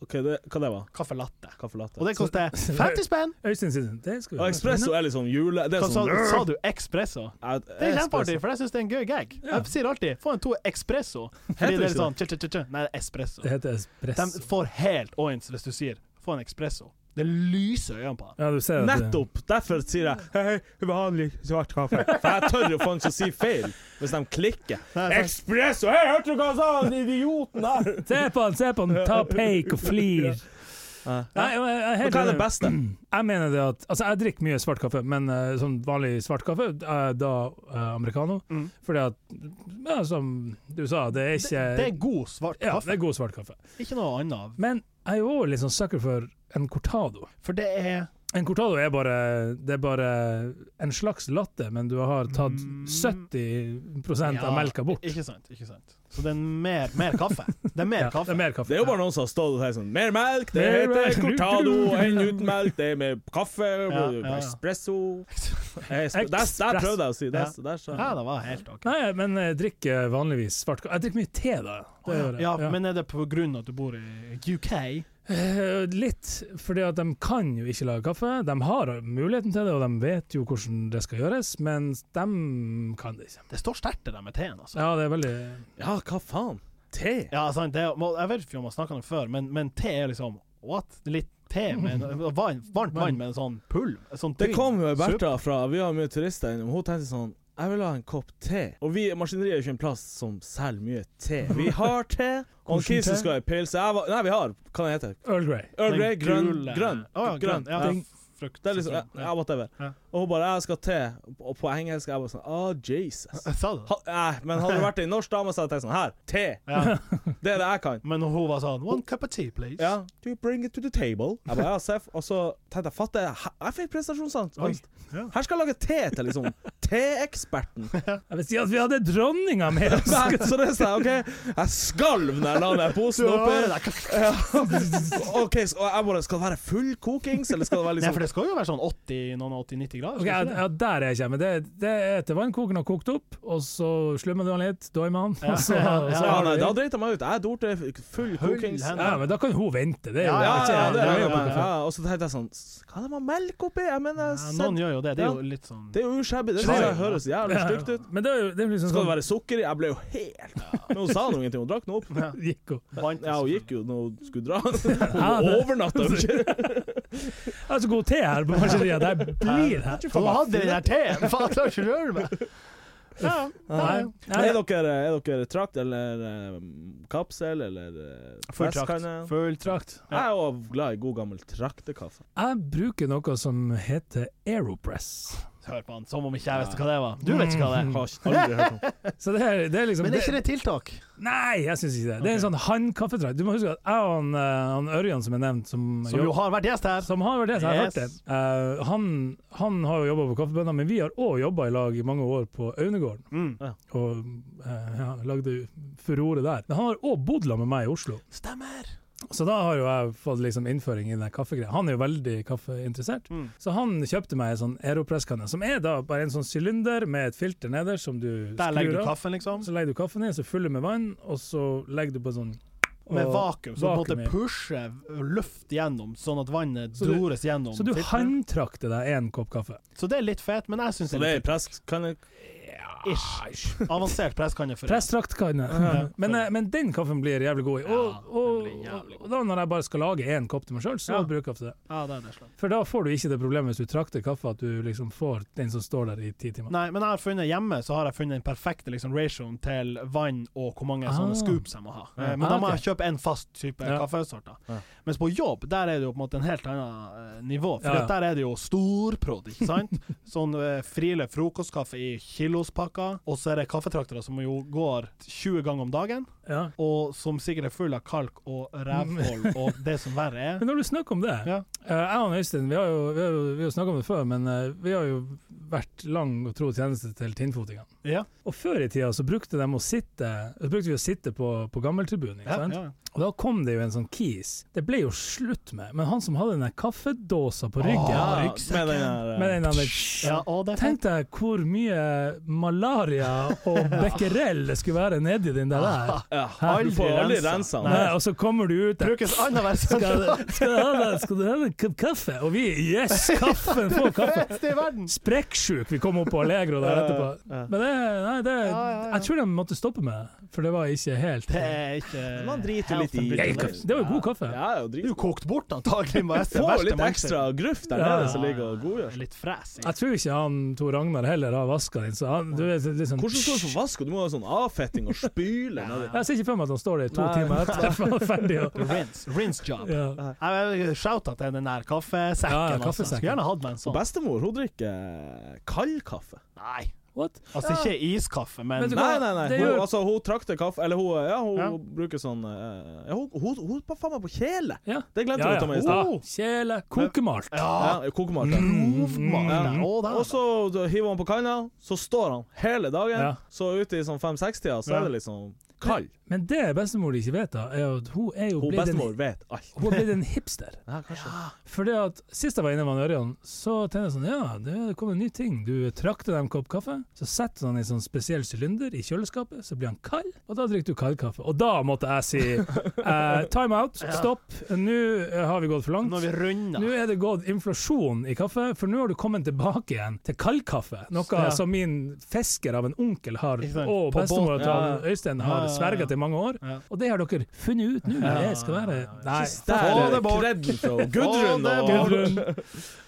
[SPEAKER 3] Ok, det, hva det var
[SPEAKER 1] Kaffe latte.
[SPEAKER 3] Kaffe latte.
[SPEAKER 1] Og det koster 50 spenn!
[SPEAKER 2] Øystein sin, det skal vi
[SPEAKER 3] Og espresso er liksom jule... Det er
[SPEAKER 1] Hva sa,
[SPEAKER 3] sånn
[SPEAKER 1] sa du? Espresso?
[SPEAKER 3] Ja,
[SPEAKER 1] Det er
[SPEAKER 3] espresso.
[SPEAKER 1] kjempeartig, for jeg syns det er en gøy gag.
[SPEAKER 2] Ja.
[SPEAKER 1] Jeg sier alltid 'få en to espresso', fordi
[SPEAKER 3] Heter
[SPEAKER 1] det
[SPEAKER 3] det
[SPEAKER 1] er
[SPEAKER 3] ikke
[SPEAKER 1] sånn tj -tj -tj -tj. Nei, det er espresso.
[SPEAKER 2] Det heter espresso.
[SPEAKER 1] De får helt øyens hvis du sier 'få en espresso'. Det lyser i øynene på dem.
[SPEAKER 2] Ja, du ser at det-
[SPEAKER 3] Nettopp! Derfor sier jeg hei, hei, vanlig svart kaffe. For jeg tør jo faen ikke å si feil hvis de klikker. Espresso! Hei, hørte du hva han sa, han idioten der?
[SPEAKER 2] Se på han, se på han, ta peik og flir.
[SPEAKER 3] Ja.
[SPEAKER 2] Nei, jeg, jeg, jeg,
[SPEAKER 3] Men
[SPEAKER 2] helt
[SPEAKER 3] hva er det
[SPEAKER 2] enig.
[SPEAKER 3] beste?
[SPEAKER 2] jeg mener det at Altså, jeg drikker mye svart kaffe, men eh, sånn vanlig svart kaffe er da eh, americano.
[SPEAKER 1] Mm.
[SPEAKER 2] Fordi at Ja, som du sa, det er ikke
[SPEAKER 1] Det er god svart
[SPEAKER 2] ja,
[SPEAKER 1] kaffe,
[SPEAKER 2] det er god svart kaffe.
[SPEAKER 1] ikke noe annet.
[SPEAKER 2] Men jeg er jo òg litt sånn sucker for en cortado.
[SPEAKER 1] For det er
[SPEAKER 2] En cortado er bare, det er bare en slags latte, men du har tatt
[SPEAKER 1] Mm.
[SPEAKER 2] 70
[SPEAKER 1] Ja,
[SPEAKER 2] av melka bort.
[SPEAKER 1] Ikke sant. ikke sant Så det er mer, mer kaffe. Det er mer
[SPEAKER 2] Ja,
[SPEAKER 1] kaffe.
[SPEAKER 2] Det er mer kaffe.
[SPEAKER 3] Det er jo bare noen som har stått og sagt sånn Mer melk, det heter cortado. Enn uten melk, det er med kaffe.
[SPEAKER 1] Ja, ja, ja.
[SPEAKER 3] Espresso. Espre- Der, der prøvde jeg å si det. så Der,
[SPEAKER 1] Ja,
[SPEAKER 3] så.
[SPEAKER 1] det var helt OK.
[SPEAKER 2] Nei, men jeg drikker vanligvis svart kaffe. Jeg drikker mye te, da. Det gjør jeg.
[SPEAKER 1] Ja,
[SPEAKER 2] Ja.
[SPEAKER 1] Men er det på grunn av at du bor i UK?
[SPEAKER 2] Eh, Litt, fordi at de kan jo ikke lage kaffe. De har muligheten til det, og de vet jo hvordan det skal gjøres, men de kan det ikke.
[SPEAKER 1] Det står sterkt det der med teen, altså.
[SPEAKER 2] Ja, det er veldig
[SPEAKER 3] Ja, hva faen? Te?
[SPEAKER 1] Ja, sant, det, er- må- jeg vet ikke om jeg snakket om det før, men, men te er liksom What? Litt te med en, vann, varmt vann med en sånn pulv? en Sånn
[SPEAKER 3] Det
[SPEAKER 1] tynn
[SPEAKER 3] kom jo
[SPEAKER 1] suppe.
[SPEAKER 3] Bertha fra Vi har mye turister innom. Hun tenkte sånn Jeg vil ha en kopp te. Og vi maskineriet er jo ikke en plass som selger mye te. Vi har te. Og
[SPEAKER 2] Hvordan
[SPEAKER 3] Kisen
[SPEAKER 2] te?
[SPEAKER 3] skal ha pils. Jeg var, nei, vi har Hva den heter
[SPEAKER 2] Earl Grey.
[SPEAKER 3] Earl
[SPEAKER 1] Den
[SPEAKER 3] Grey, grønn.
[SPEAKER 1] gule-
[SPEAKER 3] Grønn.
[SPEAKER 1] Å ja, grønn. Ja,
[SPEAKER 3] Ja.
[SPEAKER 1] frukt.
[SPEAKER 3] Det er liksom, ja,
[SPEAKER 1] sitron, ja.
[SPEAKER 3] ja, whatever.
[SPEAKER 1] Ja.
[SPEAKER 3] Og hun bare 'Jeg skal ha te', og på engelsk jeg bare sånn Oh, Jesus.
[SPEAKER 1] Jeg sa det.
[SPEAKER 3] Ha, nei, men hadde det vært ei norsk dame, så hadde jeg tenkt sånn Her, te.
[SPEAKER 1] Ja.
[SPEAKER 3] Det er det jeg kan.
[SPEAKER 1] Men hun var sånn One cup of tea, please.
[SPEAKER 3] Ja. Do you bring it to the table? Jeg bare, ja, Seff. Og så tenkte jeg fatte, he- jeg fikk
[SPEAKER 1] Oi.
[SPEAKER 3] prestasjonsangst.
[SPEAKER 1] Ja.
[SPEAKER 3] Her skal jeg lage te til, liksom. Teeksperten.
[SPEAKER 2] Jeg vil si at vi hadde dronninga med oss!
[SPEAKER 3] Nei, Så det sa jeg, OK. Jeg skalv når jeg la den posen
[SPEAKER 1] Ja,
[SPEAKER 3] oppi.
[SPEAKER 1] det er-
[SPEAKER 3] Ja. OK, så og jeg bare Skal det være full kokings, eller skal det være
[SPEAKER 1] Nei, for
[SPEAKER 3] liksom
[SPEAKER 1] det skal jo være sånn 80, noen 80-90 grader.
[SPEAKER 2] Ok,
[SPEAKER 1] skal
[SPEAKER 2] ja,
[SPEAKER 1] ikke det?
[SPEAKER 2] ja, Der er jeg ikke, men det, det er til vannkokeren har kokt opp, og så slummer du han litt, døymer han,
[SPEAKER 1] Ja,
[SPEAKER 2] og så,
[SPEAKER 1] ja,
[SPEAKER 2] og så
[SPEAKER 3] ja,
[SPEAKER 1] ja,
[SPEAKER 3] nei, Da driter jeg meg ut. Jeg dorte full
[SPEAKER 1] Hull
[SPEAKER 3] kokings.
[SPEAKER 1] hen.
[SPEAKER 2] Ja, men da kan hun vente. Det er jo
[SPEAKER 1] Ja,
[SPEAKER 3] Ja,
[SPEAKER 1] ja,
[SPEAKER 3] ja, det er
[SPEAKER 2] jo
[SPEAKER 3] det.
[SPEAKER 2] på
[SPEAKER 3] Ja,
[SPEAKER 2] kafé.
[SPEAKER 3] ja. Og så tenkte jeg sånn "S- Hva er det med melk oppi? Jeg mener, jeg
[SPEAKER 1] ja,
[SPEAKER 3] har
[SPEAKER 1] noen
[SPEAKER 3] sett-
[SPEAKER 1] gjør jo det. Det er jo
[SPEAKER 3] Ja.
[SPEAKER 1] litt sånn
[SPEAKER 3] det er jo shabby. Det
[SPEAKER 1] Shabby,
[SPEAKER 3] synes jeg
[SPEAKER 1] ja.
[SPEAKER 3] høres jævlig stygt ut.
[SPEAKER 2] Men det er jo det er jo liksom
[SPEAKER 3] Skal det
[SPEAKER 2] sånn
[SPEAKER 3] være sukker i? Jeg ble jo helt Men hun sa nå ingenting. Hun drakk nå opp.
[SPEAKER 1] ja.
[SPEAKER 2] Gikk hun.
[SPEAKER 1] Vant,
[SPEAKER 3] Ja, hun gikk jo når hun skulle dra.
[SPEAKER 2] Ja,
[SPEAKER 3] Hun
[SPEAKER 2] det-
[SPEAKER 3] overnatta jo ikke.
[SPEAKER 2] Jeg har så god te her på maskineriet, at jeg blir her.
[SPEAKER 1] selvfølgelig. Hun hadde den der teen! Faen, jeg klarer ikke å røre meg! Ja,
[SPEAKER 2] Nei,
[SPEAKER 1] nei.
[SPEAKER 2] nei.
[SPEAKER 3] Er dere, er dere trakt eller eh, kapsel eller eh,
[SPEAKER 1] Full trakt.
[SPEAKER 3] flaskkanne?
[SPEAKER 1] Full trakt.
[SPEAKER 2] Trakt.
[SPEAKER 3] Jeg er jo glad i god gammel traktekaffe.
[SPEAKER 2] Jeg bruker noe som heter Aeropress.
[SPEAKER 1] Hør på han, som om ikke jeg visste hva det var. Du vet ikke hva det er.
[SPEAKER 3] Har ikke- aldri hørt om.
[SPEAKER 2] Så det er, Mm. det er liksom
[SPEAKER 1] Men er ikke det tiltak?
[SPEAKER 2] Nei, jeg syns ikke det. Det er en sånn handkaffetrakt. Du må huske at jeg og han, eh, han Ørjan som er nevnt, som,
[SPEAKER 1] Som jo har vært gjest her.
[SPEAKER 2] Som har vært det, så jeg har
[SPEAKER 1] Yes.
[SPEAKER 2] hørt det. Eh, han, han har jo jobba på Kaffebønna, men vi har òg jobba i lag i mange år på Aunegården.
[SPEAKER 1] Mm.
[SPEAKER 2] Og eh, ja, lagde furore der. Men han har òg bodd sammen med meg i Oslo,
[SPEAKER 1] Stemmer.
[SPEAKER 2] så da har jo jeg fått liksom innføring i den kaffegreia. Han er jo veldig kaffeinteressert,
[SPEAKER 1] Mm.
[SPEAKER 2] så han kjøpte meg en sånn Aeropress-kanne, som er da bare en sånn sylinder med et filter nederst som du
[SPEAKER 1] Der legger
[SPEAKER 2] skrur
[SPEAKER 1] du
[SPEAKER 2] av.
[SPEAKER 1] kaffen, liksom.
[SPEAKER 2] Så legger du kaffen i, så fyller du med vann, og så legger du på sånn
[SPEAKER 1] Med
[SPEAKER 2] og-
[SPEAKER 1] vakuum, så du på en
[SPEAKER 2] vakuum i.
[SPEAKER 1] måte pusher luft gjennom, sånn at vannet
[SPEAKER 2] Så du-
[SPEAKER 1] dores gjennom.
[SPEAKER 2] Så du
[SPEAKER 1] filteret.
[SPEAKER 2] håndtrakter deg én kopp kaffe.
[SPEAKER 1] så det er litt fett, men jeg syns
[SPEAKER 3] Så
[SPEAKER 1] det
[SPEAKER 3] det
[SPEAKER 1] er
[SPEAKER 3] er presskanne
[SPEAKER 1] litt ish. Avansert presskanne for
[SPEAKER 2] Pressdraktkanne. Men, eh, men den kaffen blir jævlig god i. Og,
[SPEAKER 1] Ja, den
[SPEAKER 2] og,
[SPEAKER 1] blir jævlig god.
[SPEAKER 2] og da når jeg bare skal lage én kopp til meg sjøl, så
[SPEAKER 1] Ja.
[SPEAKER 2] bruker jeg ofte det.
[SPEAKER 1] Ja, det er det slett.
[SPEAKER 2] For da får du ikke det problemet hvis du trakter kaffe, at du liksom får den som står der i ti timer.
[SPEAKER 1] Nei, men jeg har funnet hjemme så har jeg funnet den perfekte liksom, ratioen til vann og hvor mange
[SPEAKER 2] Ah.
[SPEAKER 1] sånne scoops jeg må ha. Eh,
[SPEAKER 3] Ja.
[SPEAKER 1] Men da må
[SPEAKER 2] Ah, ok.
[SPEAKER 1] jeg kjøpe en fast type
[SPEAKER 2] Ja.
[SPEAKER 1] kaffesorter.
[SPEAKER 3] Ja.
[SPEAKER 1] Mens på jobb, der er det jo på en måte en helt annet eh, nivå. For
[SPEAKER 2] Ja, ja.
[SPEAKER 1] at der er det jo storprod, ikke sant? Sånn eh, Friele frokostkaffe i kilospakker, og så er det kaffetraktere som jo går 20 ganger om dagen.
[SPEAKER 2] Ja.
[SPEAKER 1] og som sikkert er full av kalk og rævhold og det som verre er.
[SPEAKER 2] Men når du snakker om det,
[SPEAKER 1] Ja.
[SPEAKER 2] eh, jeg og Øystein vi har jo, vi har jo, vi har jo snakka om det før, men eh, vi har jo vært lang og tro tjeneste til tinnfotingene.
[SPEAKER 1] Ja,
[SPEAKER 2] Og før i tida så brukte, de å sitte, så brukte vi å sitte på, på gammeltribunen, ikke
[SPEAKER 1] ja,
[SPEAKER 2] sant?
[SPEAKER 1] ja.
[SPEAKER 2] Og da kom det jo en sånn kis. Det ble jo slutt med, men han som hadde den der kaffedåsa på ryggen
[SPEAKER 1] Åh,
[SPEAKER 3] Ja,
[SPEAKER 1] ryggsekken.
[SPEAKER 3] med den der eh,
[SPEAKER 2] med den der,
[SPEAKER 1] ja og det er
[SPEAKER 2] Tenk deg hvor mye malaria og becquerel det skulle være nedi den der. der.
[SPEAKER 3] ja, Du får aldri
[SPEAKER 1] rensa.
[SPEAKER 3] rensa den.
[SPEAKER 2] Nei, og så kommer du ut der.
[SPEAKER 1] Brukes annenhver
[SPEAKER 2] Skal,
[SPEAKER 1] sentral
[SPEAKER 2] skal, du ha deg- skal du ha deg en kopp kaffe? Og vi yes, kaffen får kaffe!
[SPEAKER 1] sted i verden!
[SPEAKER 2] Sprekksjuk! Vi kom opp på Allegro der
[SPEAKER 1] Eh,
[SPEAKER 2] etterpå.
[SPEAKER 3] Ja.
[SPEAKER 2] Men det, nei, det,
[SPEAKER 1] Ja, ja, ja.
[SPEAKER 2] jeg tror de måtte stoppe med det, for det var ikke helt
[SPEAKER 1] Det er ikke
[SPEAKER 3] Man driter jo litt i
[SPEAKER 1] health and
[SPEAKER 2] Ja,
[SPEAKER 1] beauty.
[SPEAKER 2] kaffe. Det var jo god kaffe.
[SPEAKER 3] Ja, ja,
[SPEAKER 1] Det er
[SPEAKER 3] drit.
[SPEAKER 1] jo kokt bort antagelig med
[SPEAKER 3] Får jo litt ekstra gruff der
[SPEAKER 2] Ja,
[SPEAKER 3] nede
[SPEAKER 2] ja,
[SPEAKER 3] som ligger og godgjør.
[SPEAKER 1] Litt fres. i.
[SPEAKER 2] Jeg tror ikke han Tor Ragnar heller har vaska den, så han du er liksom
[SPEAKER 3] Hvordan skal du få vaska? Du må ha sånn avfetting og spyle nedi.
[SPEAKER 2] Jeg ser ikke for meg at han står der i to
[SPEAKER 3] Nei.
[SPEAKER 2] timer etter at han er ferdig. Og,
[SPEAKER 1] Rinse, rinse job.
[SPEAKER 2] ja.
[SPEAKER 1] Jeg Shout out til den der kaffesekken.
[SPEAKER 2] Ja, ja,
[SPEAKER 1] altså. Skulle
[SPEAKER 2] kaffesekken.
[SPEAKER 1] gjerne hatt meg en
[SPEAKER 3] Og
[SPEAKER 1] sånn.
[SPEAKER 3] bestemor hun drikker kald kaffe.
[SPEAKER 1] Nei,
[SPEAKER 2] What?
[SPEAKER 1] altså ikke iskaffe, men
[SPEAKER 2] Vet du hva?
[SPEAKER 3] Nei, nei, nei.
[SPEAKER 2] det
[SPEAKER 3] Hun,
[SPEAKER 2] gjør-
[SPEAKER 3] altså, hun trakter kaffe Eller hun, ja, hun
[SPEAKER 1] Ja.
[SPEAKER 3] bruker sånn eh, ja, Hun, hun, hun var faen meg på kjele!
[SPEAKER 2] Ja.
[SPEAKER 3] Det glemte hun
[SPEAKER 2] Ja,
[SPEAKER 3] å ta med i
[SPEAKER 2] ja.
[SPEAKER 3] stad.
[SPEAKER 2] Ah, Kjele. Kokemalt.
[SPEAKER 1] Ja,
[SPEAKER 3] Ja, kokemalt, ja.
[SPEAKER 2] Mm.
[SPEAKER 1] grovmalt.
[SPEAKER 3] Ja.
[SPEAKER 1] Å, det er
[SPEAKER 3] Og så hiver han på kanna, så står han hele dagen.
[SPEAKER 2] Ja.
[SPEAKER 3] Så ute i sånn fem-seks-tida, så
[SPEAKER 1] Ja.
[SPEAKER 3] er det liksom kald.
[SPEAKER 2] Men det bestemor ikke vet, da, er at hun er jo
[SPEAKER 3] Hun
[SPEAKER 2] blitt en,
[SPEAKER 3] bestemor vet alt.
[SPEAKER 2] hun har blitt en hipster.
[SPEAKER 3] Ja, kanskje.
[SPEAKER 2] Fordi at Sist jeg var inne med han Ørjan, så tenkte jeg sånn Ja, det kom en ny ting. Du trakter deg en kopp kaffe, så setter du den i en sånn spesiell sylinder i kjøleskapet, så blir han kald, og da drikker du kaldkaffe. Og da måtte jeg si eh, time out, stopp, nå eh, har vi gått for
[SPEAKER 1] Når vi
[SPEAKER 2] langt.
[SPEAKER 1] runder
[SPEAKER 2] Nå er det gått inflasjon i kaffe, for nå har du kommet tilbake igjen til kaldkaffe. Noe
[SPEAKER 1] Ja.
[SPEAKER 2] som min fisker av en onkel har,
[SPEAKER 1] Ikke sant?
[SPEAKER 2] og
[SPEAKER 1] På
[SPEAKER 2] bestemora til
[SPEAKER 3] båten.
[SPEAKER 2] han Øystein
[SPEAKER 1] Ja,
[SPEAKER 2] har
[SPEAKER 1] ja, ja.
[SPEAKER 2] sverget i mange år.
[SPEAKER 1] Ja.
[SPEAKER 2] Og det har dere funnet ut nå.
[SPEAKER 1] Ja,
[SPEAKER 2] Det skal være
[SPEAKER 1] ja, ja.
[SPEAKER 2] Nei.
[SPEAKER 3] Der
[SPEAKER 1] Få
[SPEAKER 3] er
[SPEAKER 1] det bort.
[SPEAKER 3] kredden fra Gudrun
[SPEAKER 1] Få det
[SPEAKER 3] og
[SPEAKER 1] bort.
[SPEAKER 2] Gudrun.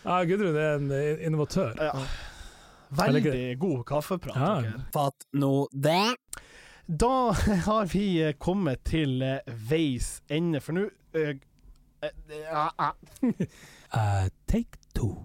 [SPEAKER 2] Ja, Gudrun er en eh, innovatør.
[SPEAKER 1] Ja.
[SPEAKER 2] Jeg liker
[SPEAKER 1] Veldig god kaffeprat.
[SPEAKER 2] Ja.
[SPEAKER 1] dere.
[SPEAKER 4] Fatt nå det.
[SPEAKER 1] Da har vi eh, kommet til eh, veis ende, for nå eh, eh, ja, ja.
[SPEAKER 2] Eh, take two.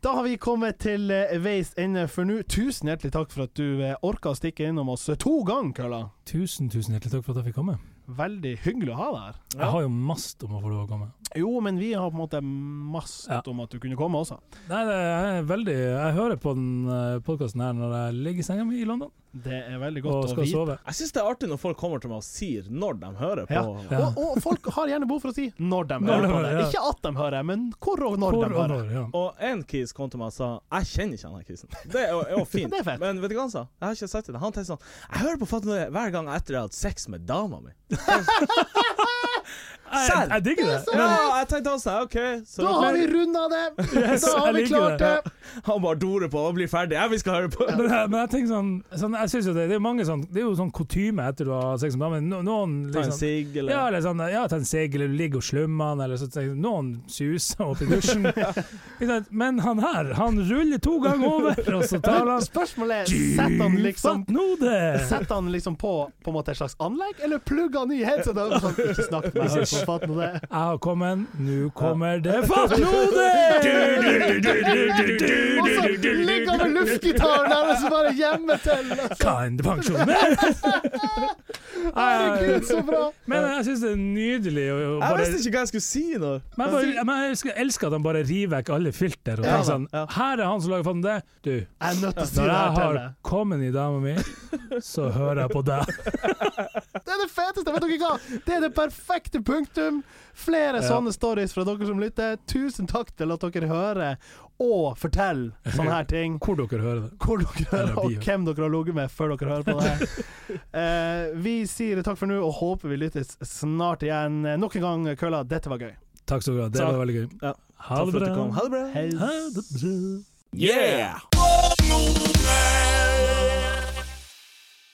[SPEAKER 1] Da har vi kommet til eh, veis ende for nå. Tusen hjertelig takk for at du eh, orka å stikke innom oss eh, to ganger, Kølla.
[SPEAKER 2] Tusen, tusen hjertelig takk for at jeg fikk komme.
[SPEAKER 1] Veldig hyggelig å ha deg her.
[SPEAKER 2] Jeg har jo mast om å få lov å komme.
[SPEAKER 1] Jo, men vi har på en måte mast
[SPEAKER 2] Ja.
[SPEAKER 1] om at du kunne komme også.
[SPEAKER 2] Nei, det er veldig Jeg hører på den podkasten her når jeg ligger i senga mi i London
[SPEAKER 1] Det er veldig
[SPEAKER 2] og
[SPEAKER 1] godt å
[SPEAKER 2] skal
[SPEAKER 1] vite.
[SPEAKER 2] sove.
[SPEAKER 3] Jeg syns det er artig når folk kommer til meg og sier når de hører på.
[SPEAKER 1] Ja.
[SPEAKER 2] Ja.
[SPEAKER 1] Og, og folk har gjerne behov for å si når de
[SPEAKER 2] Når
[SPEAKER 1] hører
[SPEAKER 2] de
[SPEAKER 1] på det.
[SPEAKER 2] hører, ja.
[SPEAKER 1] Ikke at de hører, men hvor og når
[SPEAKER 2] Hvor
[SPEAKER 1] de
[SPEAKER 2] og
[SPEAKER 1] hører.
[SPEAKER 2] når, ja.
[SPEAKER 3] Og en kis kom til meg og sa 'Jeg kjenner ikke han her kisen'. Det er jo, er jo fint.
[SPEAKER 1] Det er fett.
[SPEAKER 3] Men vet du hva han sa? Jeg har ikke sagt det. Han tenkte sånn 'Jeg hører på Fatt Nøye hver gang etter jeg har hatt sex med dama mi'.
[SPEAKER 2] Jeg, jeg digger det.
[SPEAKER 3] Ja, jeg tenkte også sånn, OK så
[SPEAKER 1] Da har vi runda det!
[SPEAKER 2] Yes,
[SPEAKER 1] da har
[SPEAKER 2] jeg
[SPEAKER 1] vi
[SPEAKER 2] liker
[SPEAKER 1] klart det!
[SPEAKER 2] det.
[SPEAKER 3] Han bare dorer på og blir ferdig. Jeg, vi skal høre på.
[SPEAKER 2] Men jeg, men jeg tenker sånn, sånn Jeg synes jo det, det er jo mange sånn Det er jo sånn kutyme etter du har sex med damer. No, noen
[SPEAKER 3] Ta en
[SPEAKER 2] liksom
[SPEAKER 3] sigg, eller
[SPEAKER 2] Ja, eller sånn, ja, ta en segg, eller du ligger og slummer han, eller så, tenker jeg, noen suser opp i dusjen. Ikke sant? Men han her, han ruller to ganger over, og så tar han
[SPEAKER 1] Spørsmålet er setter han liksom
[SPEAKER 2] Fatt nå det!
[SPEAKER 1] Setter han liksom på på en måte et slags anlegg, eller plugger han i headset? Og sånn, ikke snakk med meg, så fatt nå det.
[SPEAKER 2] Jeg har kommet, nå kommer det Fatt nå det!
[SPEAKER 1] Og så ligger han med luftgitaren der og så bare gjemmer til! altså.
[SPEAKER 2] Kan du pensjonere?
[SPEAKER 1] Herregud, så bra!
[SPEAKER 2] Men jeg syns det er nydelig å å
[SPEAKER 3] Jeg
[SPEAKER 2] bare
[SPEAKER 3] visste ikke hva jeg skulle si nå.
[SPEAKER 2] Men jeg, bare, men jeg elsker- elsker at han bare river vekk alle filter og
[SPEAKER 1] Ja,
[SPEAKER 2] tenker sånn
[SPEAKER 3] ja.
[SPEAKER 2] Her er han som lager fatt nå det. Du,
[SPEAKER 1] Jeg er nødt til å si
[SPEAKER 2] Når
[SPEAKER 1] det
[SPEAKER 2] jeg
[SPEAKER 1] her til
[SPEAKER 2] har
[SPEAKER 1] deg.
[SPEAKER 2] kommet i dama mi, så hører jeg på deg.
[SPEAKER 1] Det er det feteste! Vet dere hva? Det er det perfekte punktum! Flere
[SPEAKER 2] Ja.
[SPEAKER 1] sånne stories fra dere som lytter. Tusen takk til at dere hører og forteller sånne her ting.
[SPEAKER 2] Hvor dere hører det.
[SPEAKER 1] hvor dere hører,
[SPEAKER 2] Eller vi
[SPEAKER 1] og
[SPEAKER 2] gjør.
[SPEAKER 1] hvem dere har ligget med før dere hører på det her. Eh, vi sier takk for nå, og håper vi lyttes snart igjen. Eh, Nok en gang, Kølla, dette var gøy.
[SPEAKER 2] Takk skal du ha, det
[SPEAKER 3] Takk.
[SPEAKER 2] var veldig gøy.
[SPEAKER 3] Ja.
[SPEAKER 2] Ha
[SPEAKER 3] Takk
[SPEAKER 2] det
[SPEAKER 3] for at du
[SPEAKER 2] bra.
[SPEAKER 3] kom. Ha det bra.
[SPEAKER 1] Hei.
[SPEAKER 2] Ha det bra.
[SPEAKER 4] Yeah!